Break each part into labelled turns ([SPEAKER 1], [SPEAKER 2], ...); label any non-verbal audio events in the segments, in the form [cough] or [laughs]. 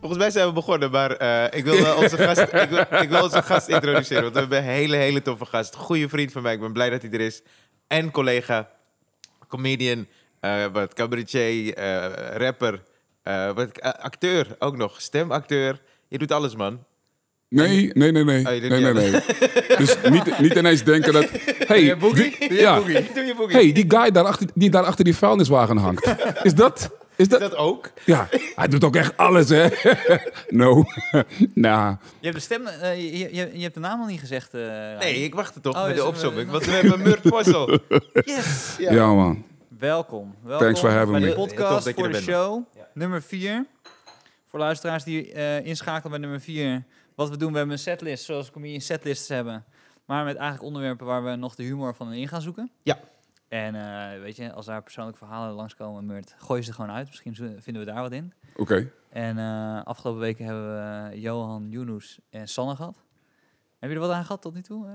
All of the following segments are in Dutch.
[SPEAKER 1] volgens mij zijn we begonnen, maar eh, ik, wil wel onze gast,
[SPEAKER 2] [laughs]
[SPEAKER 1] ik, wil, ik wil onze gast introduceren. Want we hebben een hele, hele toffe gast. Goede vriend van mij. Ik ben blij dat hij er is. En collega, comedian, eh, wat cabaretier, eh, rapper, eh, wat, eh, acteur ook nog. Stemacteur. Je doet alles, man.
[SPEAKER 3] Nee, nee, nee, nee.
[SPEAKER 1] Oh, je
[SPEAKER 3] nee,
[SPEAKER 1] doet
[SPEAKER 3] nee,
[SPEAKER 1] niet
[SPEAKER 3] nee.
[SPEAKER 1] [laughs]
[SPEAKER 3] Dus niet, niet ineens denken dat... Hey, die, ja. [laughs]
[SPEAKER 1] Doe je boogie.
[SPEAKER 3] hey, die guy daarachter, die daar achter die vuilniswagen hangt. Is dat... Is dat...
[SPEAKER 1] Dat ook.
[SPEAKER 3] Ja, hij doet ook echt alles, hè? [laughs] no. [laughs] nou,
[SPEAKER 2] Je hebt de stem, eh, je, je, je hebt de naam al niet gezegd. eh, Ryan.
[SPEAKER 1] Nee, ik wacht er toch
[SPEAKER 2] Oh,
[SPEAKER 1] met
[SPEAKER 2] is
[SPEAKER 1] de
[SPEAKER 2] er-
[SPEAKER 1] opzomming.
[SPEAKER 2] eh, [laughs]
[SPEAKER 1] Want we hebben Murt Possel.
[SPEAKER 2] Yes.
[SPEAKER 1] Ja.
[SPEAKER 3] ja. man.
[SPEAKER 2] Welkom. Welkom
[SPEAKER 3] Thanks for having
[SPEAKER 2] bij
[SPEAKER 3] me.
[SPEAKER 2] de
[SPEAKER 1] Heel tof dat
[SPEAKER 2] podcast
[SPEAKER 1] je
[SPEAKER 2] voor
[SPEAKER 1] er
[SPEAKER 2] de
[SPEAKER 1] bent,
[SPEAKER 2] show. Nummer 4. Voor luisteraars die eh, inschakelen bij nummer 4. Wat we doen, we hebben een setlist, zoals comedians setlists hebben. Maar met eigenlijk onderwerpen waar we nog de humor van in gaan zoeken.
[SPEAKER 1] Ja.
[SPEAKER 2] En eh, weet je, als daar persoonlijke verhalen langskomen, Murt, gooi ze er gewoon uit. Misschien zo- vinden we daar wat in.
[SPEAKER 3] Oké.
[SPEAKER 2] En eh, afgelopen weken hebben we eh, Johan, Yunus en Sanne gehad. Heb je er wat aan gehad tot nu toe? eh?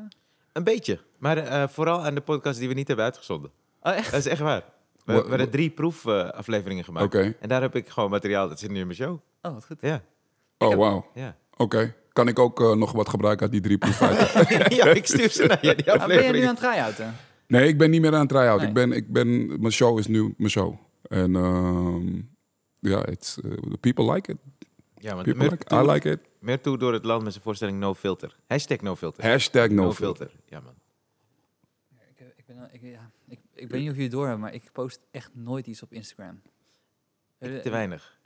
[SPEAKER 1] Een beetje. Maar eh, vooral aan de podcast die we niet hebben uitgezonden.
[SPEAKER 2] Oh, echt?
[SPEAKER 1] Dat is echt waar. We,
[SPEAKER 3] Wa-
[SPEAKER 1] we hadden drie proefafleveringen gemaakt.
[SPEAKER 3] Oké.
[SPEAKER 1] En daar heb ik gewoon materiaal. Dat zit nu in mijn show.
[SPEAKER 2] Oh, wat goed.
[SPEAKER 1] Ja.
[SPEAKER 3] Oh, wauw.
[SPEAKER 2] [laughs]
[SPEAKER 1] Ja,
[SPEAKER 3] Oké. Kan ik ook eh, nog wat gebruiken uit die drie proefijten?
[SPEAKER 1] [laughs] ja ik stuur ze naar je, die
[SPEAKER 2] Maar Oh, ben je nu
[SPEAKER 1] afleveringen.
[SPEAKER 2] aan het try-outen?
[SPEAKER 3] Nee, ik ben niet meer aan het try-out.
[SPEAKER 2] Nee.
[SPEAKER 3] Ik ben, ik ben, mijn show is nu mijn show. En ehm, ja, it's, eh, people like it.
[SPEAKER 1] Ja, want
[SPEAKER 3] People
[SPEAKER 1] meer,
[SPEAKER 3] like it. I
[SPEAKER 1] toe,
[SPEAKER 3] like it.
[SPEAKER 1] meer toe door het land met zijn voorstelling No Filter. Hashtag No Filter.
[SPEAKER 3] Hashtag no,
[SPEAKER 1] no
[SPEAKER 3] filter.
[SPEAKER 1] filter. Ja, man.
[SPEAKER 2] Ik, eh, ik, ben, al- ik, ja, ik, ik weet niet of jullie het doorhebben, maar ik post echt nooit iets op Instagram. Eh,
[SPEAKER 1] Te weinig.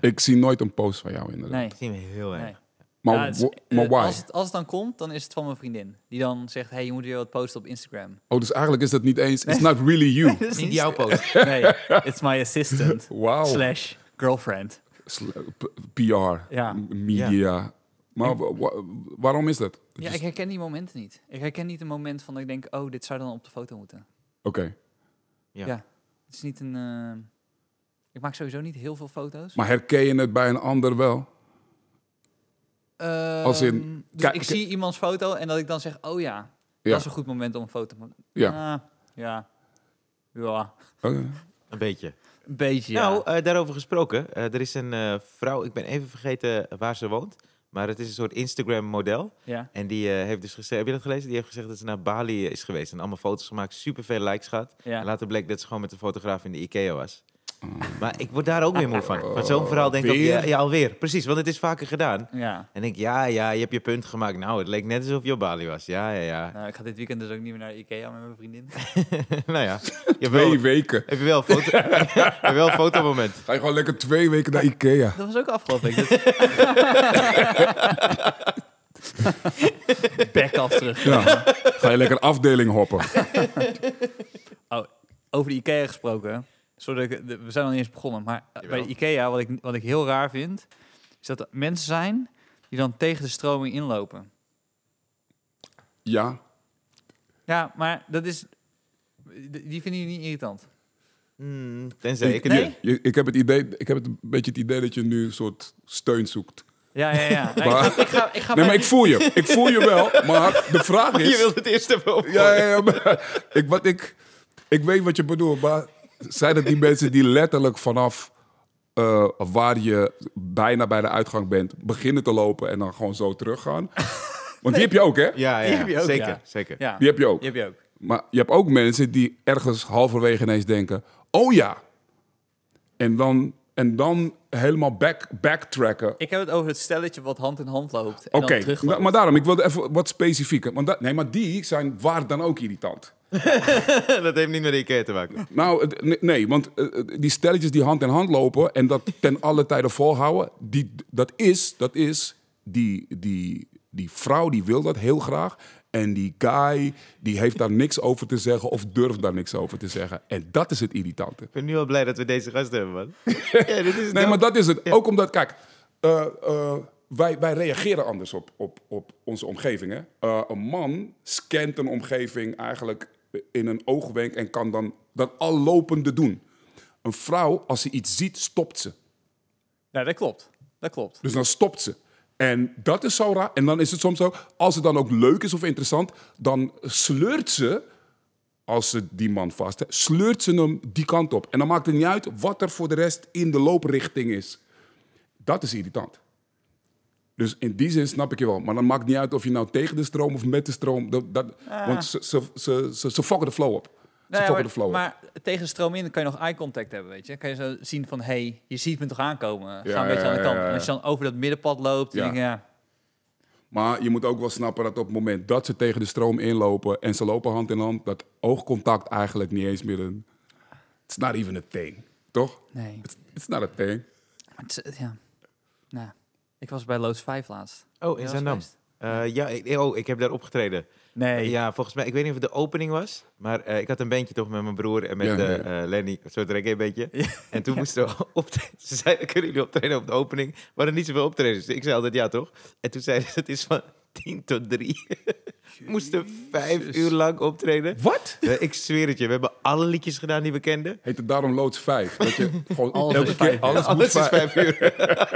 [SPEAKER 3] Ik zie nooit een post van jou inderdaad.
[SPEAKER 2] Nee.
[SPEAKER 1] Ik zie hem heel weinig.
[SPEAKER 2] nee.
[SPEAKER 3] Maar,
[SPEAKER 2] Ja, het is-
[SPEAKER 3] wa- maar
[SPEAKER 2] eh,
[SPEAKER 3] why?
[SPEAKER 2] Als het, als het dan komt, dan is het van mijn vriendin. Die dan zegt, hey, je moet weer wat posten op [laughs] Instagram.
[SPEAKER 3] Oh, dus eigenlijk is dat niet eens... It's not really
[SPEAKER 2] [laughs]
[SPEAKER 3] you.
[SPEAKER 2] Dat is
[SPEAKER 1] Niet jouw post.
[SPEAKER 2] Nee, it's my assistant.
[SPEAKER 3] [laughs] Wauw.
[SPEAKER 2] Slash girlfriend.
[SPEAKER 3] Sl- p- PR,
[SPEAKER 2] Ja.
[SPEAKER 3] m- media. Maar wa- wa- waarom is dat?
[SPEAKER 2] Ja,
[SPEAKER 3] Just-
[SPEAKER 2] ik herken die momenten niet. Ik herken niet een moment van dat ik denk, oh, dit zou dan op de foto moeten.
[SPEAKER 3] Oké.
[SPEAKER 2] Het is niet een... eh, ik maak sowieso niet heel veel foto's.
[SPEAKER 3] Maar herken je het bij een ander wel? als in,
[SPEAKER 2] Ehm, dus
[SPEAKER 3] kijk-
[SPEAKER 2] ik zie iemands foto en dat ik dan zeg, oh ja,
[SPEAKER 3] Ja.
[SPEAKER 2] dat is een goed moment om een foto te maken.
[SPEAKER 3] Ja.
[SPEAKER 2] Ah, ja. Ja,
[SPEAKER 3] Oké.
[SPEAKER 1] Een beetje.
[SPEAKER 2] een beetje.
[SPEAKER 1] Nou,
[SPEAKER 2] ja.
[SPEAKER 1] eh, daarover gesproken. eh, er is een eh, vrouw, ik ben even vergeten waar ze woont. Maar het is een soort Instagram-model.
[SPEAKER 2] ja.
[SPEAKER 1] En die eh, heeft dus gezegd, heb je dat gelezen? Die heeft gezegd dat ze naar Bali is geweest en allemaal foto's gemaakt, superveel likes gehad. En
[SPEAKER 2] ja.
[SPEAKER 1] later bleek dat ze gewoon met een fotograaf in de IKEA was. Maar ik word daar ook weer moe van. Van zo'n
[SPEAKER 3] Oh,
[SPEAKER 1] verhaal denk ik, ook,
[SPEAKER 3] weer?
[SPEAKER 1] ja, ja, alweer. Precies, want het is vaker gedaan.
[SPEAKER 2] Ja.
[SPEAKER 1] En ik, ja, ja, je hebt je punt gemaakt. Nou, het leek net alsof je op Bali was. Ja, ja, ja.
[SPEAKER 2] Nou, ik ga dit weekend dus ook niet meer naar de Ikea met mijn vriendin. [laughs]
[SPEAKER 1] [laughs] nou ja, je hebt wel,
[SPEAKER 3] Twee weken.
[SPEAKER 1] heb je wel een foto, [laughs] heb je wel een fotomoment.
[SPEAKER 3] Ga je gewoon lekker twee weken naar Ikea.
[SPEAKER 2] Dat was ook afgelopen week.
[SPEAKER 1] [laughs]
[SPEAKER 2] Dus... [laughs] Back af terug. [laughs]
[SPEAKER 3] Ja. Ga je lekker afdeling hoppen.
[SPEAKER 2] Over de Ikea gesproken. Sorry, dat ik- de- we zijn nog niet eens begonnen. Maar eh, bij
[SPEAKER 1] Jawel.
[SPEAKER 2] de Ikea, wat ik, wat ik heel raar vind, is dat er mensen zijn die dan tegen de stroming inlopen.
[SPEAKER 3] Ja.
[SPEAKER 2] Ja, maar dat is. d- Die vinden jullie niet irritant.
[SPEAKER 1] Hmm, tenzij ik het
[SPEAKER 2] Nee?
[SPEAKER 1] doe.
[SPEAKER 3] Je- ik, heb het idee, ik heb het een beetje het idee dat je nu een soort steun zoekt.
[SPEAKER 2] Ja, ja,
[SPEAKER 3] [laughs]
[SPEAKER 2] ja. Nee,
[SPEAKER 3] Maar-
[SPEAKER 2] ik, ga, ik, ga, ik ga
[SPEAKER 3] Nee,
[SPEAKER 2] bij-
[SPEAKER 3] maar ik
[SPEAKER 2] [laughs]
[SPEAKER 3] voel je. Ik voel je wel. Maar de vraag
[SPEAKER 1] Je
[SPEAKER 3] is...
[SPEAKER 1] wilt het eerst even op.
[SPEAKER 3] Ja, ja, ja. maar ik, wat ik, ik weet wat je bedoelt, maar zijn het die mensen die letterlijk vanaf eh, waar je bijna bij de uitgang bent, beginnen te lopen en dan gewoon zo teruggaan? Want die heb je ook, hè?
[SPEAKER 1] Ja, ja,
[SPEAKER 2] Die heb je ook,
[SPEAKER 1] zeker,
[SPEAKER 2] ja.
[SPEAKER 1] zeker.
[SPEAKER 2] Ja,
[SPEAKER 3] Die heb je ook.
[SPEAKER 2] die heb je ook.
[SPEAKER 3] Maar je hebt ook mensen die ergens halverwege ineens denken: oh ja. En dan, en dan helemaal back, backtracken.
[SPEAKER 2] Ik heb het over het stelletje wat hand in hand loopt. en
[SPEAKER 3] Oké,
[SPEAKER 2] dan terugloopt.
[SPEAKER 3] da- maar daarom, ik wilde even wat specifieker. Want dat, nee, maar die zijn waar dan ook irritant.
[SPEAKER 1] [laughs] dat heeft niet met de IKEA te maken.
[SPEAKER 3] Nou, het- nee, nee, want eh, eh, die stelletjes die hand in hand lopen en dat ten alle tijden volhouden, die, dat is, dat is die, die, die vrouw die wil dat heel graag. En die guy die heeft daar niks over te zeggen of durft daar niks over te zeggen. En dat is het irritante.
[SPEAKER 1] Ik ben nu al blij dat we deze gast hebben, man. ja, dit is
[SPEAKER 3] Nee, maar dat is het. Ook omdat, kijk, eh, eh, wij, wij reageren anders op, op, op onze omgeving. Hè? Eh, een man scant een omgeving eigenlijk in een oogwenk en kan dan dat al lopende doen. Een vrouw, als ze iets ziet, stopt ze.
[SPEAKER 2] Nou, dat klopt. Dat klopt.
[SPEAKER 3] Dus dan stopt ze. En dat is zo raar. En dan is het soms zo, als het dan ook leuk is of interessant, dan sleurt ze, als ze die man vast heeft, sleurt ze hem die kant op. En dan maakt het niet uit wat er voor de rest in de looprichting is. Dat is irritant. Dus in die zin snap ik je wel. Maar dan maakt niet uit of je nou tegen de stroom of met de stroom. Dat, dat,
[SPEAKER 2] Ah.
[SPEAKER 3] Want ze, ze, ze, ze, ze fokken de flow op. Ze
[SPEAKER 2] Nou ja,
[SPEAKER 3] fokken
[SPEAKER 2] maar,
[SPEAKER 3] de flow op.
[SPEAKER 2] maar tegen de stroom in kan je nog eye contact hebben, weet je. Kan je zo zien van, hey, je ziet me toch aankomen. Ga
[SPEAKER 3] Ja,
[SPEAKER 2] een beetje aan de
[SPEAKER 3] ja,
[SPEAKER 2] kant.
[SPEAKER 3] ja, ja.
[SPEAKER 2] En als je dan over dat middenpad loopt,
[SPEAKER 3] Ja.
[SPEAKER 2] dan denk je, ja,
[SPEAKER 3] Maar je moet ook wel snappen dat op het moment dat ze tegen de stroom inlopen en ze lopen hand in hand, dat oogcontact eigenlijk niet eens meer een. It's not even a thing, toch?
[SPEAKER 2] nee.
[SPEAKER 3] It's, it's not a thing.
[SPEAKER 2] Maar het is- ja. Nou, ik was bij Loods 5 laatst.
[SPEAKER 1] Oh, in
[SPEAKER 2] Was
[SPEAKER 1] Zandam.
[SPEAKER 2] geweest?
[SPEAKER 1] Eh, ja, ik, oh, ik heb daar opgetreden.
[SPEAKER 2] Nee.
[SPEAKER 1] Ja, volgens mij, ik weet niet of het de opening was, maar eh, ik had een bandje toch met mijn broer en met
[SPEAKER 3] Ja, ja, ja.
[SPEAKER 1] eh, eh, Lenny, een soort reggae-bandje.
[SPEAKER 2] Ja.
[SPEAKER 1] En toen moesten we [laughs] optreden. Ze zeiden, kunnen jullie optreden op de opening? We hadden niet zoveel optredens. dus Ik zei altijd ja, toch? En toen zeiden ze, het is van 10 tot 3. [laughs] We moesten vijf
[SPEAKER 2] Jezus.
[SPEAKER 1] uur lang optreden.
[SPEAKER 3] Wat?
[SPEAKER 1] Eh, ik zweer het je, we hebben alle liedjes gedaan die we kenden.
[SPEAKER 3] Heet het daarom loods 5? Dat je gewoon
[SPEAKER 2] Alles
[SPEAKER 3] elke
[SPEAKER 2] is
[SPEAKER 3] keer
[SPEAKER 2] vijf, ja.
[SPEAKER 3] alles, moet
[SPEAKER 1] Alles is
[SPEAKER 3] vijf.
[SPEAKER 1] vijf uur.
[SPEAKER 3] [laughs]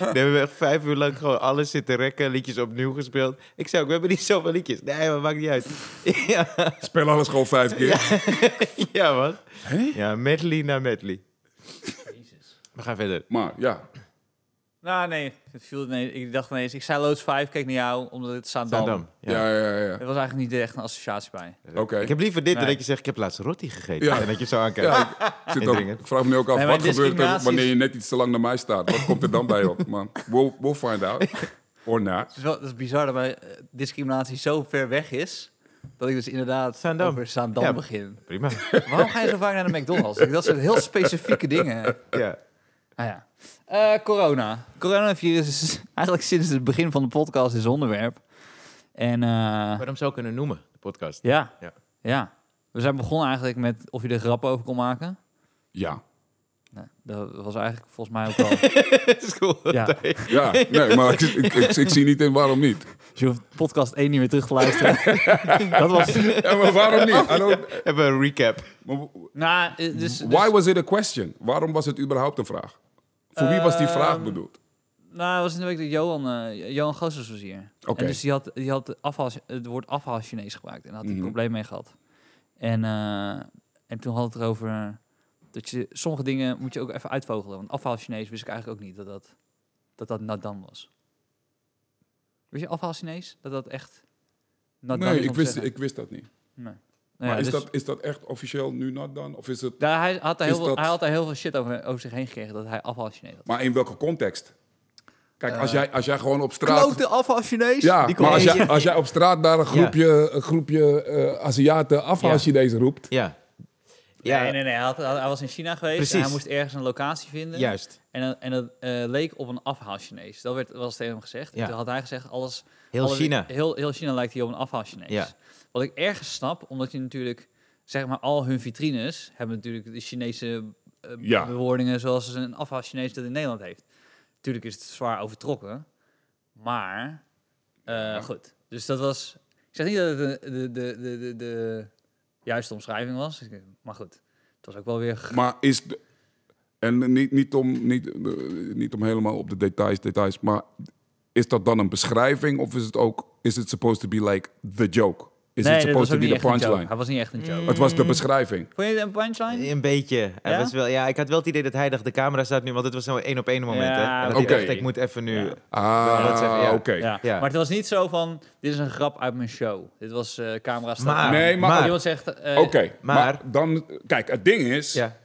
[SPEAKER 1] nee, we hebben echt vijf uur lang gewoon alles zitten rekken, liedjes opnieuw gespeeld. Ik zei ook, we hebben niet zoveel liedjes. Nee, maar maakt niet uit. [laughs] ja,
[SPEAKER 3] Speel alles gewoon vijf keer.
[SPEAKER 1] ja, man.
[SPEAKER 3] Hè?
[SPEAKER 1] Ja, medley na medley. We gaan verder.
[SPEAKER 3] Maar ja,
[SPEAKER 2] Nou, nee. Het viel, nee. Ik dacht ineens, ik zei Loods 5, keek naar jou, omdat het Zaandam.
[SPEAKER 1] Zandam. Ja.
[SPEAKER 3] ja, ja, ja.
[SPEAKER 2] Er was eigenlijk niet echt een associatie bij.
[SPEAKER 3] Oké.
[SPEAKER 1] Ik heb liever dit dan
[SPEAKER 2] Nee.
[SPEAKER 1] dat je zegt, ik heb laatst rotti gegeten.
[SPEAKER 3] Ja.
[SPEAKER 1] En dat je zo aankijkt.
[SPEAKER 3] Ja, Ik, zit ook,
[SPEAKER 1] Indringend.
[SPEAKER 3] ik vraag me nu ook af,
[SPEAKER 2] Nee, maar
[SPEAKER 3] wat gebeurt er
[SPEAKER 2] discriminatie
[SPEAKER 3] wanneer
[SPEAKER 2] is-
[SPEAKER 3] je net iets te lang naar mij staat? Wat komt er dan bij op? Man, we'll, we'll find out. Or not.
[SPEAKER 2] Het is wel dat is bizar dat bij eh, discriminatie zo ver weg is, dat ik dus inderdaad
[SPEAKER 1] Zaandam.
[SPEAKER 2] over Zaandam
[SPEAKER 1] Ja.
[SPEAKER 2] begin.
[SPEAKER 1] Prima.
[SPEAKER 2] Waarom ga je zo vaak naar de McDonald's? Dat zijn heel specifieke dingen.
[SPEAKER 1] Ja.
[SPEAKER 2] Nou ja. Eh, corona. Coronavirus is eigenlijk sinds het begin van de podcast is onderwerp. En eh,
[SPEAKER 1] Waarom zou ik kunnen noemen, de podcast?
[SPEAKER 2] ja.
[SPEAKER 1] Ja.
[SPEAKER 2] ja. We zijn begonnen eigenlijk met of je er grappen over kon maken.
[SPEAKER 3] Ja.
[SPEAKER 2] Nou, dat was eigenlijk volgens mij ook wel...
[SPEAKER 1] [laughs] Dat is cool.
[SPEAKER 2] Ja.
[SPEAKER 3] Ja, nee, maar ik, ik, ik, ik zie niet in waarom niet.
[SPEAKER 2] Dus je hoeft podcast 1 niet meer terug te luisteren. dat was...
[SPEAKER 3] Ja, maar waarom [laughs] niet? I don't-
[SPEAKER 1] Even een recap.
[SPEAKER 3] maar
[SPEAKER 2] Nou, eh, dus, dus-
[SPEAKER 3] Why was it a question? Waarom was het überhaupt een vraag? Voor wie was die vraag
[SPEAKER 2] Ehm,
[SPEAKER 3] bedoeld?
[SPEAKER 2] Nou, was in de week dat Johan, eh Johan Goossens was hier.
[SPEAKER 3] Oké.
[SPEAKER 2] En dus die had, die had afhaal, het woord afhaal Chinees gebruikt. En daar had hij
[SPEAKER 3] Mhm.
[SPEAKER 2] een probleem mee gehad. En, eh, en toen had het erover dat je sommige dingen moet je ook even uitvogelen. Want afhaal Chinees wist ik eigenlijk ook niet dat dat, dat, dat Nadan was. Wist je afhaal Chinees? Dat dat echt Nadan
[SPEAKER 3] Nee,
[SPEAKER 2] is om
[SPEAKER 3] ik
[SPEAKER 2] te
[SPEAKER 3] wist,
[SPEAKER 2] zeggen?
[SPEAKER 3] ik wist dat niet.
[SPEAKER 2] Nee. Nou ja,
[SPEAKER 3] Maar is
[SPEAKER 2] dus
[SPEAKER 3] dat, is dat echt officieel nu not done? Of is het...
[SPEAKER 2] daar, hij, had daar heel
[SPEAKER 3] is
[SPEAKER 2] veel,
[SPEAKER 3] dat-
[SPEAKER 2] hij had daar heel veel shit over, over zich heen gekregen dat hij afhaal Chinees had.
[SPEAKER 3] Maar in welke context? Kijk, als,
[SPEAKER 2] Eh,
[SPEAKER 3] jij, als jij gewoon op straat...
[SPEAKER 2] Klote afhaal Chinees?
[SPEAKER 3] Ja,
[SPEAKER 2] Die kon-
[SPEAKER 3] maar als
[SPEAKER 1] Nee,
[SPEAKER 3] jij, als jij op straat daar een groepje, een groepje eh, Aziaten afhaal-Chinees roept...
[SPEAKER 1] Ja. Ja,
[SPEAKER 2] Ja. Nee, nee, nee. Hij, had- hij- hij was in China geweest en
[SPEAKER 1] Precies.
[SPEAKER 2] hij moest ergens een locatie vinden.
[SPEAKER 1] juist.
[SPEAKER 2] En, dat- en dat eh, leek op een afhaal-Chinees. Dat werd, was tegen hem gezegd.
[SPEAKER 1] Ja.
[SPEAKER 2] En toen had hij gezegd, alles...
[SPEAKER 1] Heel
[SPEAKER 2] alle-
[SPEAKER 1] China.
[SPEAKER 2] Heel, heel China lijkt hier op een afhaal-Chinees.
[SPEAKER 1] Ja.
[SPEAKER 2] Wat ik ergens snap, omdat je natuurlijk... Zeg maar, al hun vitrines hebben natuurlijk de Chinese eh,
[SPEAKER 3] Ja.
[SPEAKER 2] bewoordingen... zoals een afhaal-Chinees dat in Nederland heeft. Natuurlijk is het zwaar overtrokken. Maar, eh, goed. Dus dat was... Ik zeg niet dat het de, de, de, de, de, de juiste omschrijving was. Maar goed, het was ook wel weer
[SPEAKER 3] Maar is. de- en niet, niet, om, niet, eh, niet om helemaal op de details, details, maar is dat dan een beschrijving of is het ook. Is het supposed to be like the joke? Is het
[SPEAKER 2] dat was
[SPEAKER 3] supposed
[SPEAKER 2] ook
[SPEAKER 3] to
[SPEAKER 2] niet
[SPEAKER 3] be
[SPEAKER 2] echt
[SPEAKER 3] the
[SPEAKER 2] een joke.
[SPEAKER 3] punchline?
[SPEAKER 2] Hij was niet echt een joke.
[SPEAKER 1] Mm.
[SPEAKER 3] Het was de beschrijving.
[SPEAKER 2] Vond je het een punchline?
[SPEAKER 1] Een beetje. Hij
[SPEAKER 2] Ja?
[SPEAKER 1] was wel, ja, ik had wel het idee dat hij dacht, de camera staat nu, want het was zo'n één op één moment.
[SPEAKER 2] Ja,
[SPEAKER 1] hè? En dat
[SPEAKER 3] oké.
[SPEAKER 1] hij dacht, ik moet even nu...
[SPEAKER 2] Ja.
[SPEAKER 1] Ja, dat zeg-
[SPEAKER 3] Ah,
[SPEAKER 1] ja.
[SPEAKER 3] oké.
[SPEAKER 2] Ja.
[SPEAKER 1] Ja.
[SPEAKER 2] Maar het was niet zo van, dit is een grap uit mijn show. Dit was eh camera staat.
[SPEAKER 1] Maar,
[SPEAKER 3] Nee, maar-
[SPEAKER 1] maar,
[SPEAKER 2] Iemand zegt, eh,
[SPEAKER 3] Oké, maar,
[SPEAKER 1] maar-
[SPEAKER 3] dan. Kijk, het ding is.
[SPEAKER 1] Ja.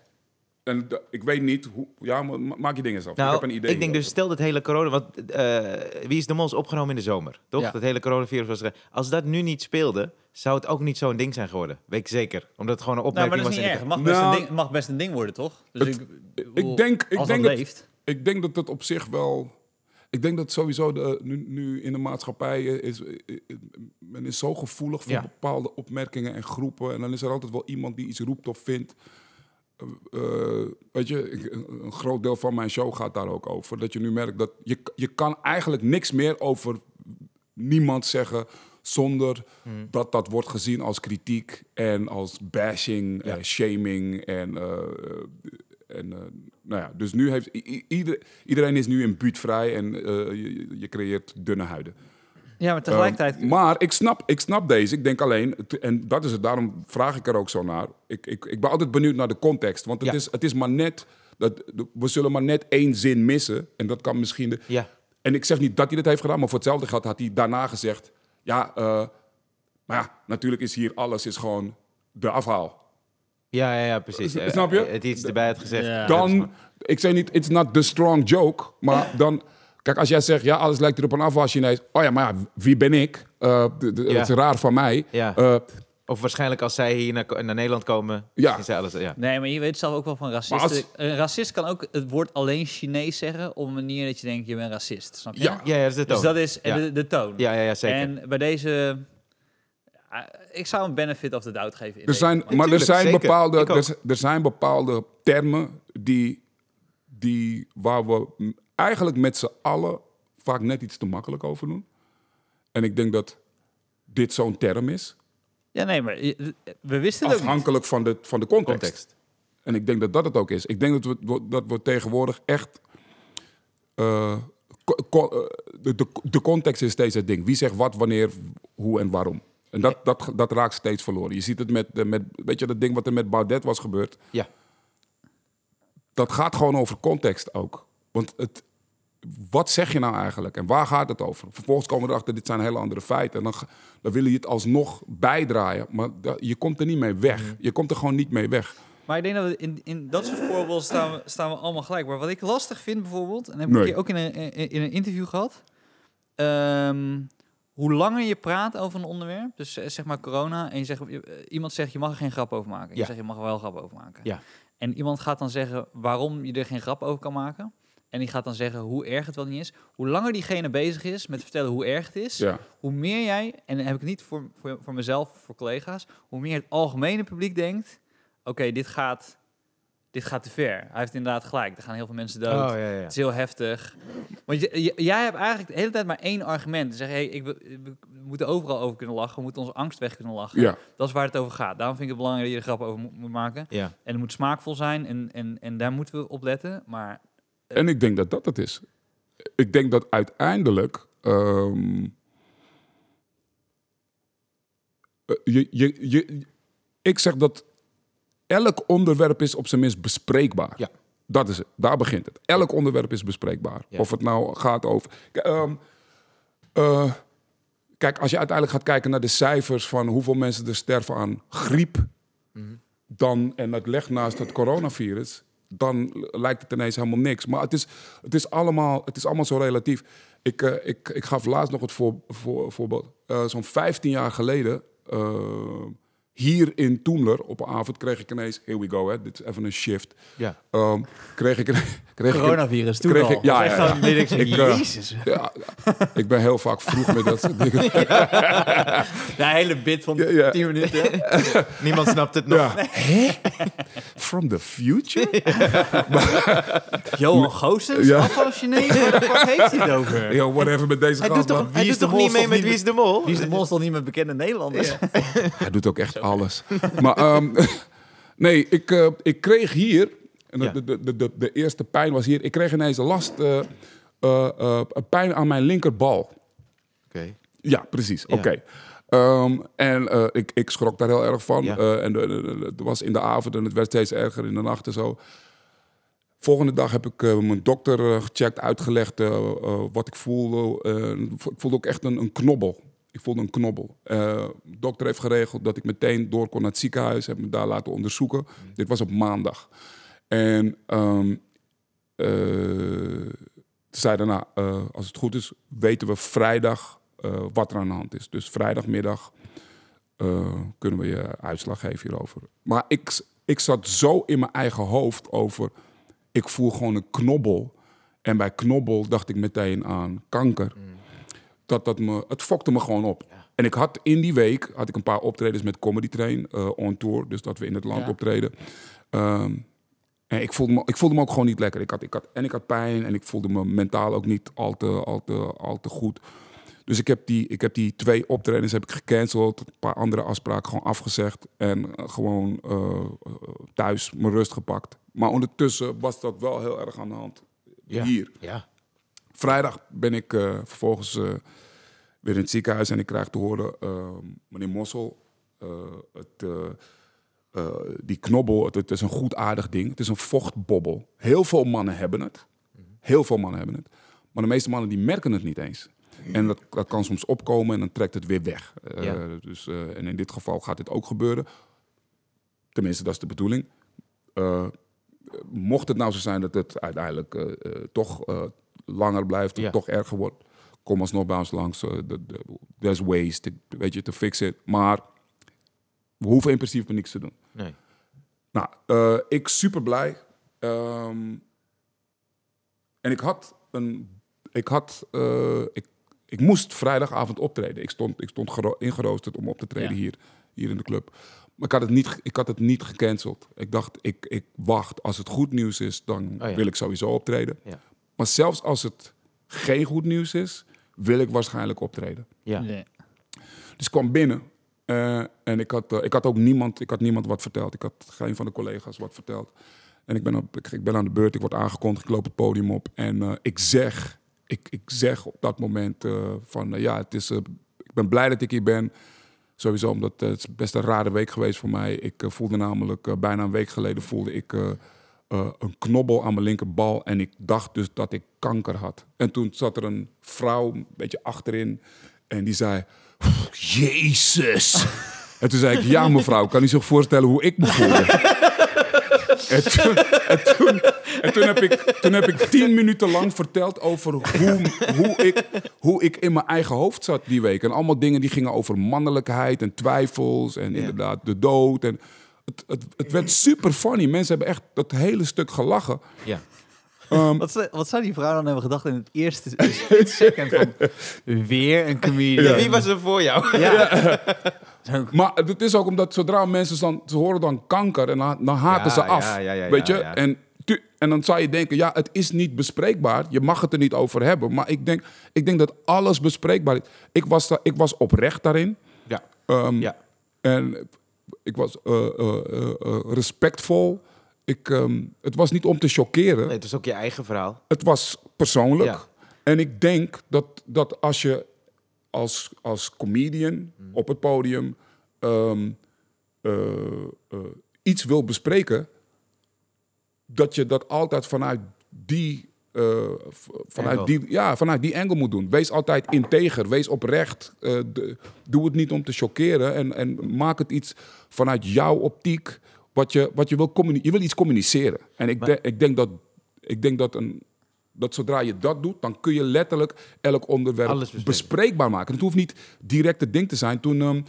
[SPEAKER 3] En d- ik weet niet hoe. Ja, ma- ma- maak je dingen zelf.
[SPEAKER 1] Nou,
[SPEAKER 3] ik heb een idee.
[SPEAKER 1] denk dus,
[SPEAKER 3] hierover.
[SPEAKER 1] stel dat hele corona... Want eh, Wie is de Mol is opgenomen in de zomer, toch?
[SPEAKER 2] Ja.
[SPEAKER 1] Dat hele coronavirus was er. Als dat nu niet speelde, zou het ook niet zo'n ding zijn geworden. Weet ik zeker. Omdat het gewoon een
[SPEAKER 2] nou,
[SPEAKER 1] opmerking
[SPEAKER 2] maar dat is niet
[SPEAKER 1] was.
[SPEAKER 2] erg.
[SPEAKER 1] in
[SPEAKER 2] Het mag, best
[SPEAKER 3] Nou,
[SPEAKER 2] een ding, het mag best een ding worden, toch? Dus
[SPEAKER 3] het-
[SPEAKER 2] ik,
[SPEAKER 3] ik denk- ik
[SPEAKER 2] als
[SPEAKER 3] denk
[SPEAKER 2] dat
[SPEAKER 3] dat-
[SPEAKER 2] leeft.
[SPEAKER 3] Ik denk dat dat op zich wel. Ik denk dat sowieso de, nu, nu in de maatschappij eh, is, eh, eh, men is zo gevoelig voor
[SPEAKER 1] Ja.
[SPEAKER 3] bepaalde opmerkingen en groepen. En dan is er altijd wel iemand die iets roept of vindt. Eh, eh, weet je, ik- een- een groot deel van mijn show gaat daar ook over. Dat je nu merkt dat je, je kan eigenlijk niks meer over niemand zeggen zonder dat dat wordt gezien als kritiek en als bashing, eh, shaming en, eh, eh, en eh, nou ja, dus nu heeft i- i- ieder- iedereen is nu in buurtvrij en eh, je, je creëert dunne huiden.
[SPEAKER 2] Ja, maar tegelijkertijd...
[SPEAKER 3] Ehm, maar ik snap, ik snap deze. Ik denk alleen, t- en dat is het, daarom vraag ik er ook zo naar. Ik, ik, ik ben altijd benieuwd naar de context. Want het,
[SPEAKER 1] Ja.
[SPEAKER 3] is, het is maar net, dat, we zullen maar net één zin missen. En dat kan misschien de,
[SPEAKER 1] Ja.
[SPEAKER 3] En ik zeg niet dat hij dat heeft gedaan, maar voor hetzelfde geld had hij daarna gezegd... Ja, eh, maar ja, natuurlijk is hier alles is gewoon de afhaal.
[SPEAKER 1] Ja, ja, ja, precies.
[SPEAKER 3] S-
[SPEAKER 1] Eh,
[SPEAKER 3] snap je?
[SPEAKER 1] Het iets erbij had gezegd.
[SPEAKER 4] Ja.
[SPEAKER 3] Dan, ik zei niet, it's not the strong joke, maar dan... Kijk, als jij zegt, ja, alles lijkt erop een afhaal Chinees. Oh ja, maar ja, wie ben ik? Eh, d- d-
[SPEAKER 1] Ja.
[SPEAKER 3] Het is raar van mij.
[SPEAKER 1] Ja.
[SPEAKER 3] Eh,
[SPEAKER 1] Of waarschijnlijk als zij hier naar, naar Nederland komen.
[SPEAKER 3] Ja.
[SPEAKER 1] is zij alles, ja.
[SPEAKER 2] Nee, maar je weet zelf ook wel van racisten.
[SPEAKER 3] Maar als-
[SPEAKER 2] Een racist kan ook het woord alleen Chinees zeggen op een manier dat je denkt, je bent racist. Snap je?
[SPEAKER 3] Ja.
[SPEAKER 1] ja, ja, dat is de toon.
[SPEAKER 2] Dus dat is
[SPEAKER 1] Ja.
[SPEAKER 2] de, de toon.
[SPEAKER 1] ja, ja, ja, zeker.
[SPEAKER 2] En bij deze... eh, ik zou een benefit of the doubt geven. in
[SPEAKER 3] Er
[SPEAKER 2] deze.
[SPEAKER 3] zijn, maar er
[SPEAKER 1] tuurlijk,
[SPEAKER 3] zijn,
[SPEAKER 1] zeker.
[SPEAKER 3] bepaalde,
[SPEAKER 1] Ik ook.
[SPEAKER 3] er, z- er zijn bepaalde termen die, die, waar we m- eigenlijk met z'n allen vaak net iets te makkelijk over doen. En ik denk dat dit zo'n term is,
[SPEAKER 2] Ja, nee, maar je- we wisten het ook niet.
[SPEAKER 3] afhankelijk van de, van de context.
[SPEAKER 1] Context.
[SPEAKER 3] En ik denk dat dat het ook is. Ik denk dat we, dat we tegenwoordig echt... eh, co- co- eh, de, de, de context is steeds het ding. Wie zegt wat, wanneer, hoe en waarom. En dat, dat, dat raakt steeds verloren. Je ziet het met, eh, met... Weet je, dat ding wat er met Baudet was gebeurd...
[SPEAKER 1] Ja.
[SPEAKER 3] dat gaat gewoon over context ook. Want het, wat zeg je nou eigenlijk en waar gaat het over? Vervolgens komen we erachter, dit zijn hele andere feiten. En dan, ga- dan wil je het alsnog bijdraaien. Maar da- je komt er niet mee weg. Je komt er gewoon niet mee weg.
[SPEAKER 2] Maar ik denk dat we in, in dat soort voorbeelden staan we, staan we allemaal gelijk. Maar wat ik lastig vind bijvoorbeeld, en heb ik
[SPEAKER 3] Nee.
[SPEAKER 2] hier ook in een, in, in een interview gehad. ehm, hoe langer je praat over een onderwerp, dus eh, zeg maar corona, en je zegt, je- eh, iemand zegt je mag er geen grap over maken. Je
[SPEAKER 1] Ja.
[SPEAKER 2] zegt je mag er wel grap over maken.
[SPEAKER 1] Ja.
[SPEAKER 2] En iemand gaat dan zeggen waarom je er geen grap over kan maken. En die gaat dan zeggen hoe erg het wel niet is. Hoe langer diegene bezig is met vertellen hoe erg het is,
[SPEAKER 3] Ja.
[SPEAKER 2] hoe meer jij, en dan heb ik het niet voor, voor, voor mezelf, voor collega's, hoe meer het algemene publiek denkt: oké, dit, gaat, dit gaat te ver. Hij heeft inderdaad gelijk. Er gaan heel veel mensen dood.
[SPEAKER 1] Oh, ja, ja, ja.
[SPEAKER 2] Het is heel heftig. Want je- je- jij hebt eigenlijk de hele tijd maar één argument. Te Zeggen, hey, ik, wil- we moeten overal over kunnen lachen. We moeten onze angst weg kunnen lachen.
[SPEAKER 3] Ja.
[SPEAKER 2] Dat is waar het over gaat. Daarom vind ik het belangrijk dat je er grap over moet, moet maken.
[SPEAKER 1] Ja.
[SPEAKER 2] En het moet smaakvol zijn. En, en, en daar moeten we op letten. Maar
[SPEAKER 3] En ik denk dat dat het is. Ik denk dat uiteindelijk. ehm, eh, je, je, je, ik zeg dat elk onderwerp is op zijn minst bespreekbaar.
[SPEAKER 1] Ja.
[SPEAKER 3] Dat is het. Daar begint het. Elk onderwerp is bespreekbaar.
[SPEAKER 1] Ja.
[SPEAKER 3] Of het nou gaat over. K- ehm, eh, kijk, als je uiteindelijk gaat kijken naar de cijfers van hoeveel mensen er sterven aan griep, dan, en dat legt naast het coronavirus, dan l- lijkt het ineens helemaal niks. Maar het is, het is, allemaal, het is allemaal zo relatief. Ik, eh, ik, ik gaf laatst nog het voor, voor, voorbeeld. Eh, Zo'n 15 jaar geleden, eh, hier in Toemler, op een avond kreeg ik ineens... Here we go, hè, dit is even een shift.
[SPEAKER 1] Ja.
[SPEAKER 3] Ehm, kreeg ik... [laughs] Kreeg ik
[SPEAKER 4] Coronavirus, toen
[SPEAKER 3] kreeg
[SPEAKER 4] al.
[SPEAKER 3] ik- ja,
[SPEAKER 4] Dat is
[SPEAKER 3] ja,
[SPEAKER 4] echt
[SPEAKER 3] ja.
[SPEAKER 4] zo'n-
[SPEAKER 3] Ik, eh,
[SPEAKER 4] Jezus.
[SPEAKER 3] ja, ik ben heel vaak vroeg met dat soort dingen.
[SPEAKER 4] [laughs]
[SPEAKER 2] de hele bit van
[SPEAKER 3] Ja, ja.
[SPEAKER 2] 10 minuten.
[SPEAKER 1] Niemand snapt het nog.
[SPEAKER 3] Ja. From the future?
[SPEAKER 2] Johan Goossens,
[SPEAKER 3] Ja.
[SPEAKER 2] afval Chinees, waar heeft hij het over?
[SPEAKER 3] Yo, whatever met deze
[SPEAKER 4] Hij
[SPEAKER 3] gast,
[SPEAKER 4] doet toch
[SPEAKER 3] man.
[SPEAKER 1] Wie is toch niet mee met Wie is de Mol?
[SPEAKER 4] Wie is de mol is toch niet met bekende Nederlanders?
[SPEAKER 3] Hij doet ook echt alles. Maar ehm, [laughs] nee, ik, eh, ik kreeg hier, en
[SPEAKER 1] Ja.
[SPEAKER 3] de, de, de, de, de eerste pijn was hier, ik kreeg ineens last, eh, eh, eh, een pijn aan mijn linkerbal.
[SPEAKER 1] Oké.
[SPEAKER 3] Ja, precies.
[SPEAKER 1] Ja.
[SPEAKER 3] Oké. Ehm, en eh, ik, ik schrok daar heel erg van.
[SPEAKER 1] Ja.
[SPEAKER 3] Eh, en de- de- de- de- het was in de avond en het werd steeds erger in de nacht en zo. Volgende dag heb ik eh, mijn dokter eh, gecheckt, uitgelegd eh, eh, wat ik voelde. Eh, ik voelde ook echt een, een knobbel. Ik voelde een knobbel. Eh, de dokter heeft geregeld dat ik meteen door kon naar het ziekenhuis. Heb me daar laten onderzoeken.
[SPEAKER 1] Mm.
[SPEAKER 3] Dit was op maandag. En ehm, eh, zei daarna, eh, als het goed is, weten we vrijdag eh, wat er aan de hand is. Dus vrijdagmiddag eh, kunnen we je uitslag geven hierover. Maar ik, s- ik zat zo in mijn eigen hoofd over, ik voel gewoon een knobbel. En bij knobbel dacht ik meteen aan kanker. Dat, dat me, het fokte me gewoon op. En ik had in die week had ik een paar optredens met Comedy Train eh, on tour. Dus dat we in het land
[SPEAKER 2] Ja.
[SPEAKER 3] optreden. Ehm, en ik voelde, me, ik voelde me ook gewoon niet lekker. Ik had, ik had, en ik had pijn en ik voelde me mentaal ook niet al te, al te, al te goed. Dus ik heb, die, ik heb die twee optredens heb ik gecanceld. Een paar andere afspraken gewoon afgezegd. En eh, gewoon eh, eh, thuis mijn rust gepakt. Maar ondertussen was dat wel heel erg aan de hand.
[SPEAKER 1] Ja.
[SPEAKER 3] Hier.
[SPEAKER 1] Ja.
[SPEAKER 3] Vrijdag ben ik eh, vervolgens eh, weer in het ziekenhuis en ik krijg te horen, eh, meneer Mossel, eh, het, eh, eh, die knobbel, het, het is een goed aardig ding. Het is een vochtbobbel. Heel veel mannen hebben het. Heel veel mannen hebben het. Maar de meeste mannen die merken het niet eens. En dat, dat kan soms opkomen en dan trekt het weer weg. Eh,
[SPEAKER 1] Ja.
[SPEAKER 3] dus, eh, en in dit geval gaat dit ook gebeuren. Tenminste, dat is de bedoeling. Eh, mocht het nou zo zijn dat het uiteindelijk eh, eh, toch eh, langer blijft,
[SPEAKER 1] Ja.
[SPEAKER 3] toch erger wordt, kom alsnog bij ons langs. eh, de- de- there's ways, to, weet je, te fixen. Maar we hoeven in principe niks te doen.
[SPEAKER 1] Nee.
[SPEAKER 3] Nou, eh, ik super blij. Ehm, en ik had een. Ik had. eh, ik, ik moest vrijdagavond optreden. Ik stond, ik stond gero- ingeroosterd om op te treden
[SPEAKER 2] Ja.
[SPEAKER 3] hier, hier in de club. Maar ik had het niet, ge- ik had het niet gecanceld. Ik dacht, ik, ik wacht. Als het goed nieuws is, dan
[SPEAKER 1] Oh ja.
[SPEAKER 3] wil ik sowieso optreden.
[SPEAKER 1] Ja.
[SPEAKER 3] Maar zelfs als het geen goed nieuws is, wil ik waarschijnlijk optreden.
[SPEAKER 1] Ja.
[SPEAKER 2] Nee.
[SPEAKER 3] Dus ik kwam binnen. eh, en ik had, eh, ik had ook niemand, ik had niemand wat verteld. Ik had geen van de collega's wat verteld. En ik ben, op, ik, ik ben aan de beurt, ik word aangekondigd, ik loop het podium op. En eh, ik zeg, ik, ik zeg op dat moment eh, van eh, ja, het is, eh, ik ben blij dat ik hier ben. Sowieso, omdat eh, het is best een rare week geweest voor mij. Ik eh, voelde namelijk, eh, bijna een week geleden voelde ik eh, eh, een knobbel aan mijn linkerbal. En ik dacht dus dat ik kanker had. En toen zat er een vrouw een beetje achterin. En die zei, Jezus. En toen zei ik, ja mevrouw, kan u zich voorstellen hoe ik me voelde? En toen, en toen, en toen, heb, ik, toen heb ik tien minuten lang verteld over hoe, hoe, ik, hoe ik in mijn eigen hoofd zat die week. En allemaal dingen die gingen over mannelijkheid en twijfels en inderdaad de dood. En het, het, het werd super funny. Mensen hebben echt dat hele stuk gelachen.
[SPEAKER 1] Ja.
[SPEAKER 3] Ehm,
[SPEAKER 4] Wat, zou- wat zou die vrouw dan hebben gedacht in het eerste [laughs] split second van... Weer een comedian.
[SPEAKER 1] Wie was er voor jou?
[SPEAKER 3] Maar het is ook omdat zodra mensen dan, ze horen dan kanker en dan, dan haken
[SPEAKER 1] Ja,
[SPEAKER 3] ze af.
[SPEAKER 1] ja, ja, ja,
[SPEAKER 3] weet
[SPEAKER 1] ja,
[SPEAKER 3] je?
[SPEAKER 1] ja.
[SPEAKER 3] En, tu- en dan zou je denken, ja, het is niet bespreekbaar. Je mag het er niet over hebben. Maar ik denk, ik denk dat alles bespreekbaar is. Ik was, da- ik was oprecht daarin.
[SPEAKER 1] Ja.
[SPEAKER 3] Ehm,
[SPEAKER 1] Ja.
[SPEAKER 3] En ik was eh, eh, eh, eh, respectvol. Ik, ehm, het was niet om te chockeren.
[SPEAKER 1] Nee, het is ook je eigen verhaal.
[SPEAKER 3] Het was persoonlijk.
[SPEAKER 1] Ja.
[SPEAKER 3] En ik denk dat, dat als je als, als comedian
[SPEAKER 1] Mm.
[SPEAKER 3] op het podium ehm, eh, eh, iets wil bespreken, dat je dat altijd vanuit die. eh, v- vanuit,
[SPEAKER 1] Angle.
[SPEAKER 3] die, ja, vanuit die angle moet doen. Wees altijd integer, wees oprecht. eh, de- doe het niet om te chockeren en, en maak het iets vanuit jouw optiek. Wat je, wat je, wil, communi- je wil iets communiceren. En ik, de- ik denk, dat, ik denk dat, een, dat zodra je dat doet, dan kun je letterlijk elk onderwerp
[SPEAKER 1] Alles bespreken.
[SPEAKER 3] bespreekbaar maken. Het hoeft niet direct het ding te zijn. Toen, ehm,